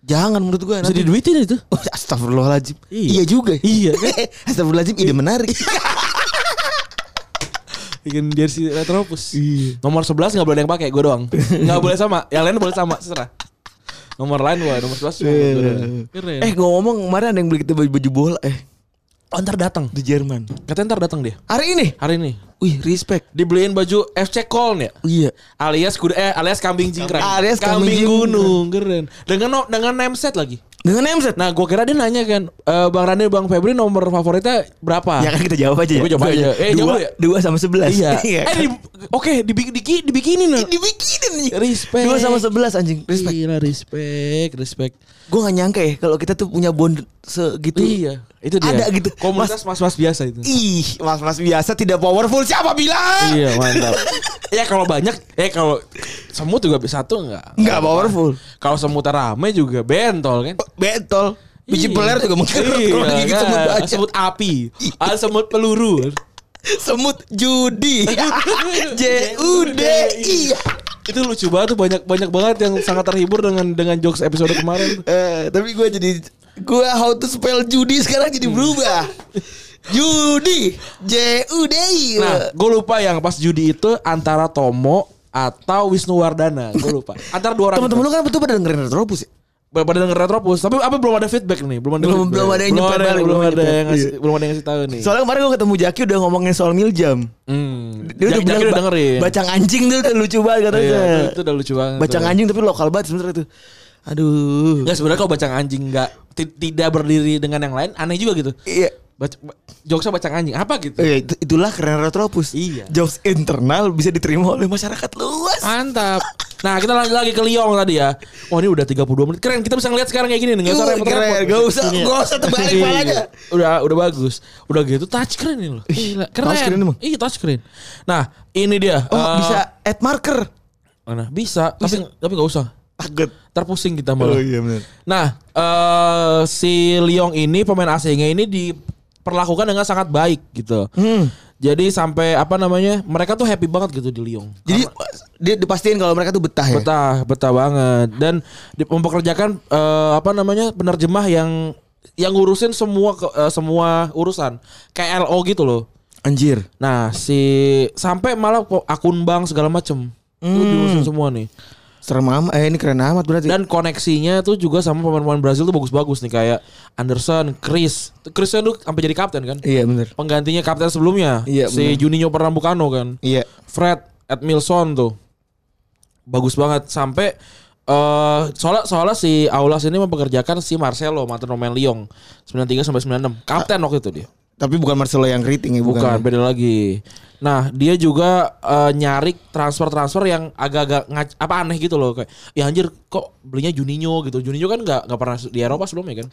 Speaker 4: Jangan menurut gue
Speaker 2: bisa
Speaker 4: nanti.
Speaker 2: diduitin itu
Speaker 4: Oh, Astagfirullahaladzim
Speaker 2: Iya.
Speaker 4: Iya, juga
Speaker 2: Iya.
Speaker 4: Astagfirullahaladzim ide menarik
Speaker 2: bikin jersey retropus Iya. nomor 11 nggak boleh ada yang pakai gue doang nggak boleh sama yang lain boleh sama serah nomor lain boleh nomor
Speaker 4: Iya,
Speaker 2: 11 semua boleh. keren
Speaker 4: Eh
Speaker 2: eh
Speaker 4: gue ngomong kemarin ada yang beli kita baju, baju bola eh
Speaker 2: oh, ntar datang
Speaker 4: Di Jerman
Speaker 2: katanya ntar datang dia
Speaker 4: Hari ini
Speaker 2: hari ini
Speaker 4: Wih respect
Speaker 2: dibeliin baju FC Köln ya
Speaker 4: Iya
Speaker 2: alias kuda eh alias kambing jingkrang
Speaker 4: Alias kambing
Speaker 2: kambing,
Speaker 4: jingkrang.
Speaker 2: gunung keren dengan no- dengan name set lagi
Speaker 4: Dengan nameset
Speaker 2: nah gue kira dia nanya kan eh, bang Rani bang Febri nomor favoritnya berapa
Speaker 4: Ya kan kita jawab aja ya
Speaker 2: Gua jawab aja. Eh, jawab
Speaker 4: dua,
Speaker 2: lu ya?
Speaker 4: dua sama sebelas
Speaker 2: Iya. eh,
Speaker 4: kan?
Speaker 2: di, oke, dibi- diki- dibikinin loh.
Speaker 4: Dibikinin nih
Speaker 2: Respect.
Speaker 4: Dua sama sebelas anjing Respect
Speaker 2: Gila, respect, respect.
Speaker 4: Gue gak nyangka ya Kalau kita tuh punya bond segitu
Speaker 2: Iya, itu dia.
Speaker 4: Ada gitu Iya.
Speaker 2: Komunitas mas-mas biasa itu.
Speaker 4: Ih mas-mas biasa tidak powerful Siapa bilang
Speaker 2: Iya, mantap. ya kalau banyak, eh kalau semut juga satu enggak.
Speaker 4: Nggak powerful
Speaker 2: Kalau semut rame juga bentol kan.
Speaker 4: Betol Oh, Biji
Speaker 2: Iya.
Speaker 4: peler juga mengkerut
Speaker 2: Iya,
Speaker 4: Kalau digigit
Speaker 2: kan.
Speaker 4: semut banyak Iya.
Speaker 2: Semut api, ada semut peluru.
Speaker 4: Semut judi Iya. J U D I
Speaker 2: itu lucu banget tuh banyak banyak banget yang sangat terhibur dengan dengan jokes episode kemarin.
Speaker 4: Eh, tapi gue jadi gue how to spell judi sekarang jadi berubah. judi J U D I.
Speaker 2: Nah, gue lupa yang pas judi itu antara Tomo atau Wisnuwardana, gue lupa. Antara dua orang.
Speaker 4: teman-teman
Speaker 2: itu.
Speaker 4: lu kan betul pada dengerin Retropus ya?
Speaker 2: Ba- pada denger Retropus, tapi apa belum ada feedback nih? Belum ada
Speaker 4: Belum-
Speaker 2: feedback.
Speaker 4: belum ada yang nyepet balik,
Speaker 2: belum
Speaker 4: belum ada
Speaker 2: ada
Speaker 4: nyepet.
Speaker 2: yang ngasih belum ada yang ngasih tahu nih.
Speaker 4: Soalnya kemarin gue ketemu Jaki udah ngomongin soal miljam.
Speaker 2: hmm.
Speaker 4: Dia udah
Speaker 2: Jaki-
Speaker 4: bilang
Speaker 2: Jaki
Speaker 4: ba-
Speaker 2: dengerin.
Speaker 4: Bacang anjing tuh udah lucu banget katanya.
Speaker 2: Iya, itu, itu udah lucu banget.
Speaker 4: Bacang anjing tapi lokal banget sebenarnya tuh. Aduh.
Speaker 2: Enggak sebenarnya kalau bacang anjing enggak ti- tidak berdiri dengan yang lain aneh juga gitu.
Speaker 4: Iya.
Speaker 2: Baca, ba- jokesnya bacang anjing apa gitu?
Speaker 4: Iya, itu- itulah keren Retropus.
Speaker 2: Iya.
Speaker 4: Jokes internal bisa diterima oleh masyarakat luas.
Speaker 2: Mantap. Nah, kita lanjut lagi ke Liong tadi ya. Wah, ini udah 32 menit. Keren, kita bisa ngeliat sekarang kayak gini nih. Nggak usah
Speaker 4: Uh, Keren,
Speaker 2: repot-repot.
Speaker 4: Gak usah, gak usah terbalik
Speaker 2: Iya.
Speaker 4: palanya.
Speaker 2: Udah udah bagus. Udah gitu touchscreen ini loh. Gila, keren.
Speaker 4: touchscreen emang?
Speaker 2: Iya, touchscreen. Nah, ini dia.
Speaker 4: Oh
Speaker 2: Eh,
Speaker 4: bisa add marker.
Speaker 2: Mana? Bisa, tapi tapi nggak usah.
Speaker 4: Paget.
Speaker 2: Ntar pusing kita
Speaker 4: Oh,
Speaker 2: malah.
Speaker 4: benar.
Speaker 2: Nah, eh si Liong ini pemain asingnya ini diperlakukan dengan sangat baik gitu.
Speaker 4: Hmm.
Speaker 2: Jadi sampai apa namanya? Mereka tuh happy banget gitu di Liong.
Speaker 4: Jadi dia dipastiin kalau mereka tuh betah ya.
Speaker 2: betah betah banget dan di- mempekerjakan eh, apa namanya penerjemah yang yang ngurusin semua ke- eh, semua urusan kayak LO gitu loh
Speaker 4: Anjir.
Speaker 2: nah si sampai malah kok akun bank segala macem itu
Speaker 4: Hmm.
Speaker 2: diurusin semua nih
Speaker 4: Serem amat. Eh ini keren amat berarti.
Speaker 2: dan koneksinya tuh juga sama pemain-pemain Brazil tuh bagus-bagus nih kayak Anderson, Chris. Chrisnya tuh sampai jadi kapten kan?
Speaker 4: iya bener.
Speaker 2: Penggantinya kapten sebelumnya
Speaker 4: Iya,
Speaker 2: si Juninho Pernambucano kan.
Speaker 4: Iya.
Speaker 2: Fred Edmilson tuh bagus banget sampai eh soalnya soalnya si Aulas ini mempekerjakan si Marcelo mantan pemain Lyon 93 sampai 96 kapten waktu itu dia
Speaker 4: Tapi bukan Marcelo yang keriting ya
Speaker 2: bukan
Speaker 4: bukan.
Speaker 2: beda lagi nah dia juga eh, nyari transfer transfer yang agak-agak ngac- apa aneh gitu loh kayak ya anjir kok belinya Juninho gitu Juninho kan nggak nggak pernah di Eropa sebelumnya kan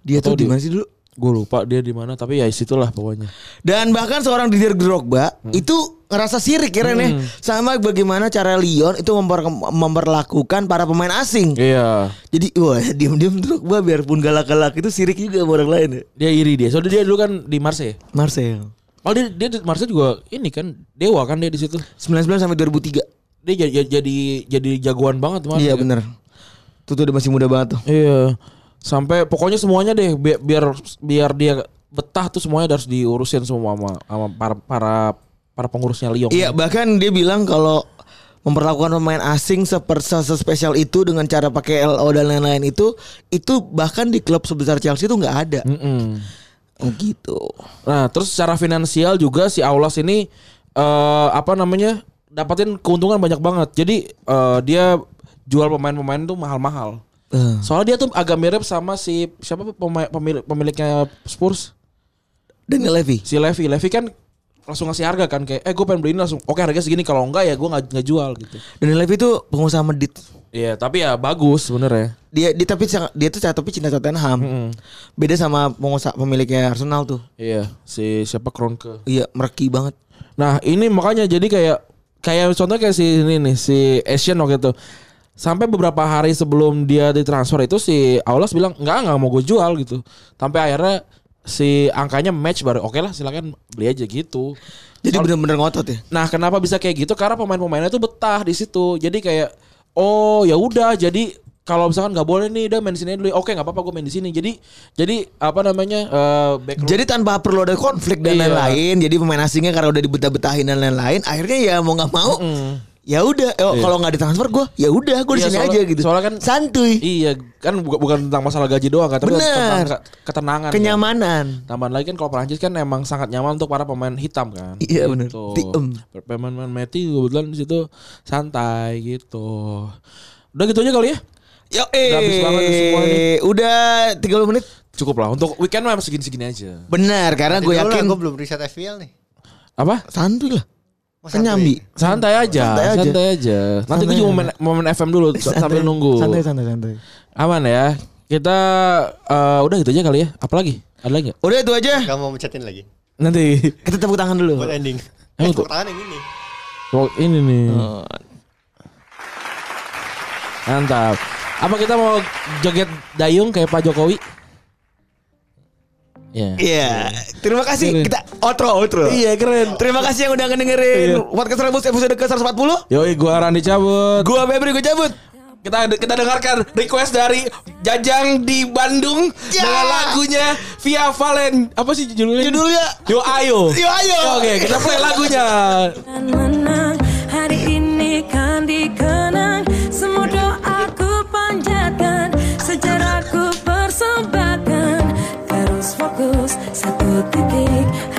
Speaker 4: Dia tuh
Speaker 2: Atau
Speaker 4: di
Speaker 2: dia-
Speaker 4: mana sih dulu?
Speaker 2: gue lupa dia di mana tapi ya situlah pokoknya
Speaker 4: Dan bahkan seorang Didier Drogba
Speaker 2: Hmm.
Speaker 4: itu ngerasa sirik keren ya. Sama bagaimana cara Lyon itu memper- memperlakukan para pemain asing.
Speaker 2: iya
Speaker 4: Jadi wah diam-diam Drogba biarpun galak-galak itu sirik juga sama orang lain ya.
Speaker 2: dia iri dia soalnya dia dulu kan di Marseille
Speaker 4: Marcel.
Speaker 2: Oh dia, dia di Marseille juga ini kan dewa kan dia di situ.
Speaker 4: 99 sampai 2003.
Speaker 2: Dia jadi jadi, jadi jagoan banget Marseille.
Speaker 4: Iya bener. Itu tuh udah masih muda banget tuh.
Speaker 2: Iya. Sampai pokoknya semuanya deh bi- biar biar dia betah tuh semuanya harus diurusin semua sama, sama para para para pengurusnya Lyon.
Speaker 4: Iya bahkan dia bilang kalau memperlakukan pemain asing sepersa spesial itu dengan cara pakai LO dan lain-lain itu itu bahkan di klub sebesar Chelsea itu nggak ada.
Speaker 2: Hmm. Mm-mm.
Speaker 4: Oh gitu.
Speaker 2: Nah, terus secara finansial juga si Aulas ini eh apa namanya? dapatin keuntungan banyak banget. Jadi eh, dia jual pemain-pemain tuh mahal-mahal.
Speaker 4: Eh,
Speaker 2: Soalnya dia tuh agak mirip sama si siapa pemain pemilik, pemiliknya Spurs,
Speaker 4: Daniel Levy.
Speaker 2: si Levy. Levy kan langsung ngasih harga kan kayak eh gue pengen beli ini langsung oke harganya segini kalau enggak ya gue nggak nggak jual gitu
Speaker 4: Daniel Levy itu pengusaha medit.
Speaker 2: Iya, tapi ya bagus sebenarnya.
Speaker 4: Dia, dia tapi sang- dia tuh tapi cinta Tottenham. Beda sama pengusaha pemiliknya Arsenal tuh.
Speaker 2: Iya, si siapa Kronke.
Speaker 4: Iya mereki banget.
Speaker 2: Nah, ini makanya jadi kayak kayak contohnya kayak si ini nih, si Asian waktu itu. Sampai beberapa hari sebelum dia ditransfer itu si Aulas bilang enggak enggak mau gue jual gitu. Sampai akhirnya si angkanya match baru oke lah silakan beli aja gitu.
Speaker 4: Jadi bener-bener ngotot ya.
Speaker 2: Nah, kenapa bisa kayak gitu? Karena pemain-pemainnya tuh betah di situ. Jadi kayak oh ya udah jadi kalau misalkan nggak boleh nih udah main di sini dulu. Oke, nggak apa-apa gue main di sini. Jadi jadi apa namanya? eh back
Speaker 4: Jadi tanpa perlu ada konflik dan
Speaker 2: Iya.
Speaker 4: lain-lain. Jadi pemain asingnya karena udah dibetah-betahin dan lain-lain, akhirnya ya mau nggak mau. Ya udah, eh, kalau nggak ditransfer gue, ya udah gue di
Speaker 2: Iya,
Speaker 4: sini
Speaker 2: soalnya-
Speaker 4: aja gitu.
Speaker 2: soalnya kan-
Speaker 4: santuy,
Speaker 2: Iya kan bukan, bukan tentang masalah gaji doang kan tapi
Speaker 4: Bener.
Speaker 2: tentang ke- ketenangan. Kan.
Speaker 4: kenyamanan.
Speaker 2: Tambahan lagi kan kalau Prancis kan emang sangat nyaman untuk para pemain hitam kan.
Speaker 4: Iya, bener.
Speaker 2: Gitu.
Speaker 4: Tiem.
Speaker 2: Pemain-pemain Meti kebetulan di situ santai gitu. Udah gitu aja kali ya.
Speaker 4: Yo,
Speaker 2: Udah habis banget nih semua ini.
Speaker 4: eh, udah 30 menit.
Speaker 2: Cukup lah untuk weekend mah emang segini-segini aja.
Speaker 4: Benar, karena gue yakin
Speaker 3: gue belum riset FPL nih.
Speaker 2: Apa?
Speaker 4: santuy lah.
Speaker 2: Oh,
Speaker 3: Masa
Speaker 4: Kan nyambi.
Speaker 3: gue-
Speaker 2: Santai aja,
Speaker 4: Santai
Speaker 2: Hmm. santai
Speaker 4: aja.
Speaker 2: aja. Nanti gue
Speaker 4: Santai
Speaker 2: juga mau main, mau main FM dulu so- sambil nunggu.
Speaker 4: Santai, santai, santai.
Speaker 2: Aman ya. Kita eh, udah gitu aja kali ya. Apalagi? Ada lagi nggak?
Speaker 4: Udah itu aja.
Speaker 3: Gak mau mencetin lagi.
Speaker 2: Nanti.
Speaker 4: Kita tepuk tangan dulu.
Speaker 3: Buat ending.
Speaker 2: Eh,
Speaker 3: Eh,
Speaker 2: untuk-
Speaker 3: tepuk tangan yang ini.
Speaker 2: Oh, ini nih.
Speaker 4: Oh.
Speaker 2: Mantap. Apa kita mau joget dayung kayak Pak Jokowi? Ya.
Speaker 4: Iya, terima kasih.
Speaker 2: Keren.
Speaker 4: Kita outro, outro.
Speaker 2: Iya, keren.
Speaker 4: Terima kasih yang udah
Speaker 2: Iya.
Speaker 4: ngedengerin podcast Rebus episode ke 140.
Speaker 2: Yoi, gua Randi cabut.
Speaker 4: Gua Febri gue cabut.
Speaker 2: Kita kita dengarkan request dari Jajang di Bandung
Speaker 4: Ya.
Speaker 2: dengan lagunya Via Valen. Apa sih judulnya?
Speaker 4: Judulnya
Speaker 2: Yo ayo.
Speaker 4: Yo Ayo.
Speaker 2: Oke, kita play lagunya.
Speaker 5: Dan menang hari ini kan dikenang semua doaku panjatkan sejarahku persembahkan terus fokus satu titik